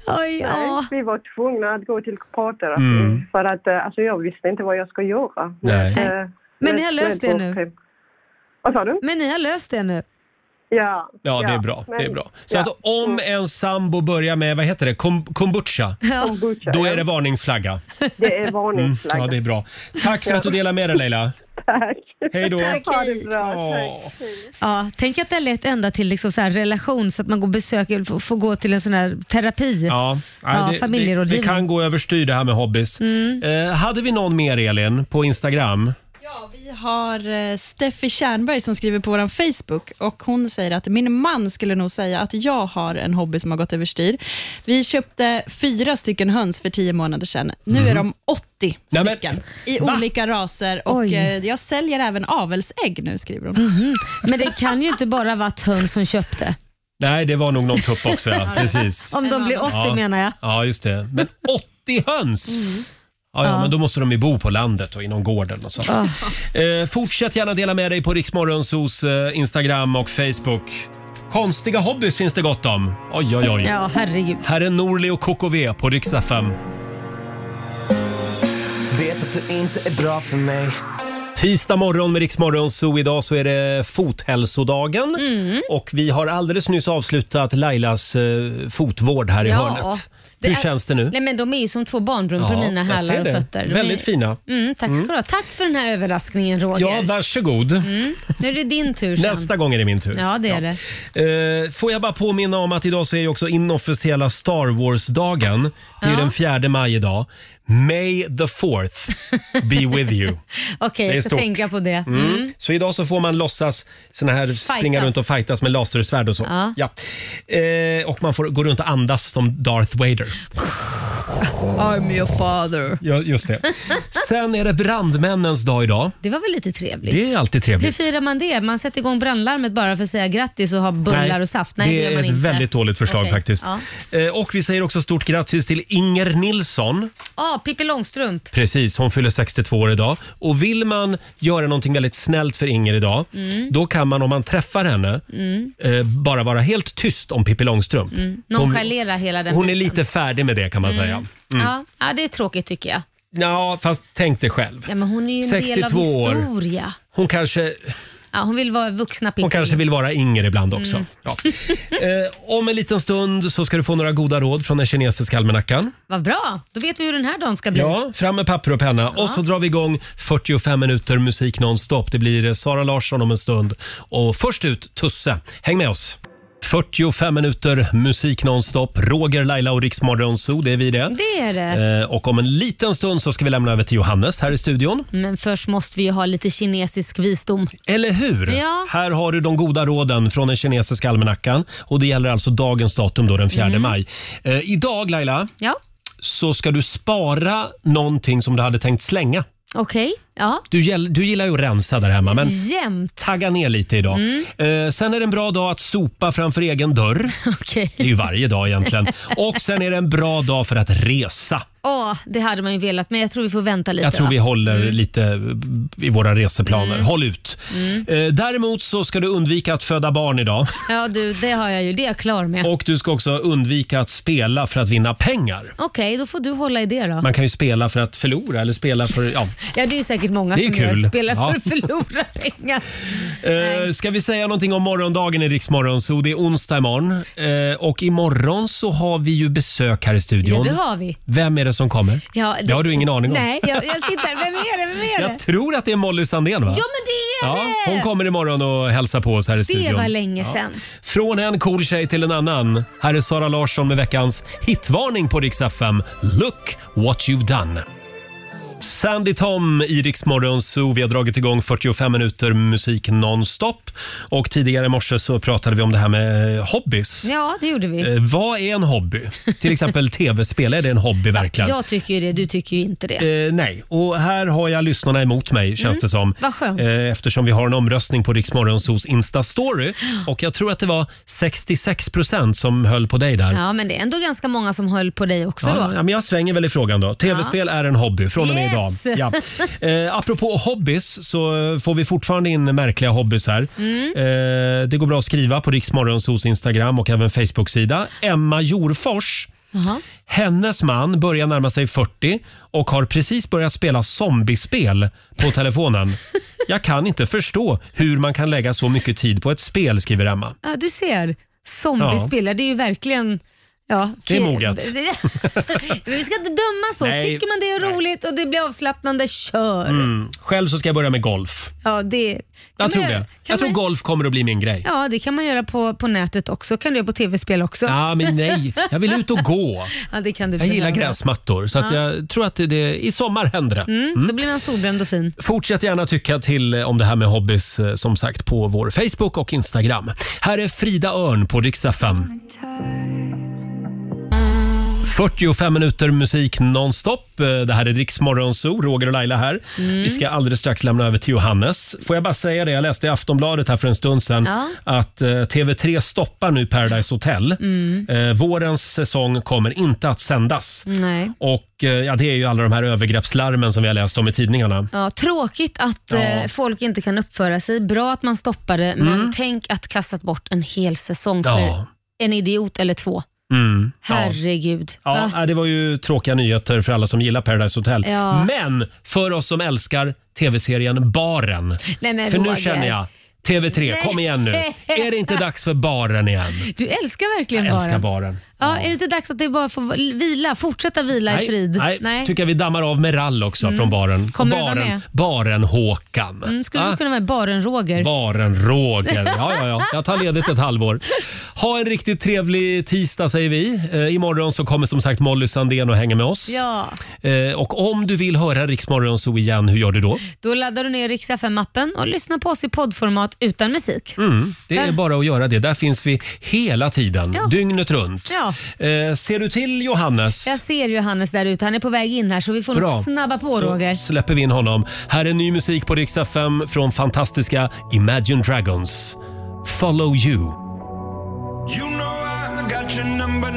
Oj, ja. Nej, vi var tvungna att gå till parterapi Mm. för att eh, alltså, jag visste inte vad jag ska göra. Nej. Eh, Men ni med- har löst med det vår nu? prim- Vad sa du? Men ni har löst det nu? Ja. Ja, det är bra. men- det är bra. Så ja. Mm. att om en sambo börjar med, vad heter det, Kom, kombucha, Kombucha, då ja. är det varningsflagga. Det är Mm, varningsflagga. ja, det är bra. Tack för att du delar med dig Leila. Tack. Hej då. Tack, Ha hej. det bra. Åh. Ja, tänk att det har lett ända till liksom så här relation, så att man går besöker, får, får gå till en sån här terapi. Ja, nej, Ja, det, det, det familjerådgivning. kan gå överstyr det här med hobbies. Mm. Eh, hade vi någon mer Elin på Instagram? Vi har eh, Steffi Kärnberg som skriver på vår Facebook och hon säger att min man skulle nog säga att jag har en hobby som har gått överstyr. Vi köpte fyra stycken höns för tio månader sedan. Nu är de 80 Mm. Nej, men- stycken i Va? olika raser och Oj. eh, jag säljer även avelsägg nu, skriver hon. Mhm. Men det kan ju inte bara vara höns som köpte. Nej, det var nog någon tupp också. Ja. Precis. Om de blir 80 Ja. menar jag. Mm. Ja, just det. Men 80 höns! Ja, ja, Ja. men då måste de ju bo på landet och i någon gård eller något sånt. Eh, fortsätt gärna dela med dig på Riksmorgonsos eh, Instagram och Facebook. Konstiga hobbys finns det gott om. Oj, oj, oj. Ja, herregud. Här är Norli och KKV på riksdag 5. Vet att du inte är bra för mig. Tisdag morgon med Riksmorgon Zoo. Idag så är det fothälsodagen. Mm. Och vi har alldeles nyss avslutat Lailas eh, fotvård här i hörnet. Hur är- känns det nu? Nej, men de är ju som två barnrum på Ja, mina jag hälar ser och det. fötter. De Väldigt är... fina. Mm, tack ska Mm. du ha. Tack för den här överraskningen Roger. Ja, varsågod. mm. Nu är det din tur sen. Nästa gång är det min tur. Ja, det är det. Eh, får jag bara påminna om att idag så är ju också inofficiella Star Wars-dagen. Det är ju Ja. den 4 maj idag. May the fourth be with you. Okej, Det är jag ska stort. tänka på det. Mm. Mm. Så idag så får man låtsas såna här springa Fightas. runt och fightas med lasersvärd och så. Ja. Eh, och man får gå runt och andas som Darth Vader. I'm your father. Ja, just det. Sen är det brandmännens dag idag. Det var väl lite trevligt? Det är alltid Hur trevligt. firar man det? Man sätter igång brandlarmet bara för att säga grattis och ha bullar och saft? Nej, det, det gör är man ett inte. väldigt dåligt förslag Okej, faktiskt. Ja. Eh, Och vi säger också stort grattis till Inger Nilsson. Ah, Pippi Långstrump. Precis, hon fyller 62 år idag. Och vill man göra någonting väldigt snällt för Inger idag, Mm. då kan man om man träffar henne Mm. eh, bara vara helt tyst om Pippi Långstrump. Mm. För Hon, Nonchalera hela den hon är biten. lite färdig med det kan man Mm. säga. Ja. ja, det är tråkigt tycker jag. Ja, fast tänk dig själv. Ja, men hon är ju en del av 62 år. historia. Hon kanske, Ja, hon vill vara vuxna Pippi. hon kanske vill vara Inger ibland också. Mm. Ja. Eh, om en liten stund så ska du få några goda råd från den kinesiska almanackan. Vad bra, då vet vi hur den här dagen ska bli. Ja, fram med papper och penna. Och så drar vi igång 45 minuter musik nonstop. Det blir eh, Sara Larsson om en stund. Och först ut, Tusse. Häng med oss. 45 minuter musik nonstop. Roger, Laila och Riksmorgon Zoo, det är vi det. Det är det. Eh, och om en liten stund så ska vi lämna över till Johannes här i studion. Men först måste vi ju ha lite kinesisk visdom. Eller hur? Ja. Här har du de goda råden från den kinesiska almanackan. Och det gäller alltså dagens datum då, den 4 Mm. maj. Eh, idag Laila, Ja, så ska du spara någonting som du hade tänkt slänga. okej. Ja. Du, gäll, du gillar ju att rensa där hemma, men Jämt. tagga ner lite idag. Mm. Eh, sen är det en bra dag att sopa framför egen dörr. Okej. Det är ju varje dag egentligen. Och sen är det en bra dag för att resa. Åh, det hade man ju velat, men jag tror vi får vänta lite. Jag tror va? vi håller Mm. lite i våra reseplaner. Mm. Håll ut. Mm. Eh, däremot så ska du undvika att föda barn idag. Ja, du, det har jag ju. Det är jag klar med. Och du ska också undvika att spela för att vinna pengar. Okej, då får du hålla i det då. Man kan ju spela för att förlora eller spela för... Ja. Eh, Ja, det är ju säkert många Det är som gör kul. det. spelar för Ja. att förlora pengar. Eh, ska vi säga någonting om morgondagen i Riksmorgon? Så det är onsdag imorgon. Eh, och imorgon så har vi ju besök här i studion. Ja, det har vi. Vem är det som kommer? Ja, det... har du ingen aning om. Nej, jag, jag sitter Vem är det? Vem är det? Jag tror att det är Molly Sandén va? Ja, men det är det! hon kommer imorgon och hälsar på oss här i Det studion. var länge Ja. sedan. Från en cool tjej till en annan. Här är Sara Larsson med veckans hitvarning på Rix FM. Look what you've done. Sandy Tom i Rix Morgon Zoo. Vi har dragit igång 45 minuter musik nonstop. Och tidigare i morse så pratade vi om det här med hobbys. Ja, det gjorde vi. Eh, vad är en hobby? Till exempel tv-spel, är det en hobby verkligen? Jag tycker ju det, du tycker ju inte det. Eh, nej, och här har jag lyssnarna emot mig känns Mm, det som. vad skönt. Eh, eftersom vi har en omröstning på Riksmorgonsos Insta-story. Och jag tror att det var 66 procent som höll på dig där. Ja, men det är ändå ganska många som höll på dig också Ja, då. ja, men jag svänger väl i frågan då. Tv-spel är en hobby från och med Yes! idag. Ja. Eh, apropå hobbys så eh, får vi fortfarande in märkliga hobbys här. Mm. Eh, det går bra att skriva på Riksmorgonsos Instagram och även Facebook-sida. Emma Jorfors hennes man börjar närma sig 40 och har precis börjat spela zombiespel på telefonen. Jag kan inte förstå hur man kan lägga så mycket tid på ett spel, skriver Emma. Ja, du ser. Zombiespelare, det är ju verkligen... Ja, Det är ki- moget. Men Vi ska inte döma så. Nej. Tycker man det är roligt och det blir avslappnande, kör. Mm. Själv så ska jag börja med golf. Ja, det, kan man Jag tror göra- det. kan Jag tror man- golf kommer att bli min grej. Ja, det kan man göra på, på nätet också. kan du göra på tv-spel också. Ja, men nej. Jag vill ut och gå. ja, det kan du Jag gillar behöva. gräsmattor, så att Ja. jag tror att det, det, i sommar händer det. Mm, Mm. Då blir man solbränd och fin. Fortsätt gärna tycka till om det här med hobbys eh, som sagt på vår Facebook och Instagram. Här är Frida Örn på riksdag 5. 45 minuter musik nonstop. Eh, Det här är Rix Morgonzoo, Roger och Laila här. Mm. Vi ska alldeles strax lämna över till Johannes. Får jag bara säga det, jag läste i Aftonbladet här för en stund sedan Ja. att eh, TV3 stoppar nu Paradise Hotel. Mm. Eh, Vårens säsong kommer inte att sändas. Nej. Och eh, ja, det är ju alla de här övergreppslarmen som vi har läst om i tidningarna. Ja, tråkigt att Ja. eh, folk inte kan uppföra sig. Bra att man stoppar det, men Mm. tänk att kastat bort en hel säsong för Ja. en idiot eller två. Mm. Ja. Herregud. Ja, Va? nej, det var ju tråkiga nyheter för alla som gillar Paradise Hotel. Ja. Men för oss som älskar tv-serien Baren. Nej, men för nu Roger. känner jag, TV3, Nej. kom igen nu. Är det inte dags för Baren igen? Du älskar verkligen Jag älskar baren. Baren. Ja, är det inte dags att det bara får vila? Fortsätta vila i frid. nej, tycker jag vi dammar av med rall också Mm. från Baren. Kommer du vara baren, med? Baren-Håkan. Mm, skulle Ah. du kunna vara Baren-Roger? Baren-Roger. Ja, ja, ja. Jag tar ledigt ett halvår. Ha en riktigt trevlig tisdag säger vi. Eh, imorgon så kommer som sagt Molly Sandén och hänger med oss. Ja, Eh, och om du vill höra Riksmorgon så igen, hur gör du då? då laddar du ner Rix FM-appen och lyssnar på oss i poddformat utan musik. Mm, det är Där- bara att göra det. Där finns vi hela tiden, Ja. dygnet runt. Ja. Eh, ser du till Johannes? Jag ser Johannes där ute. Han är på väg in här så vi får Bra. nog snabba på Roger. Då släpper vi in honom. Här är ny musik på Rix FM från fantastiska Imagine Dragons. Follow you. I got your number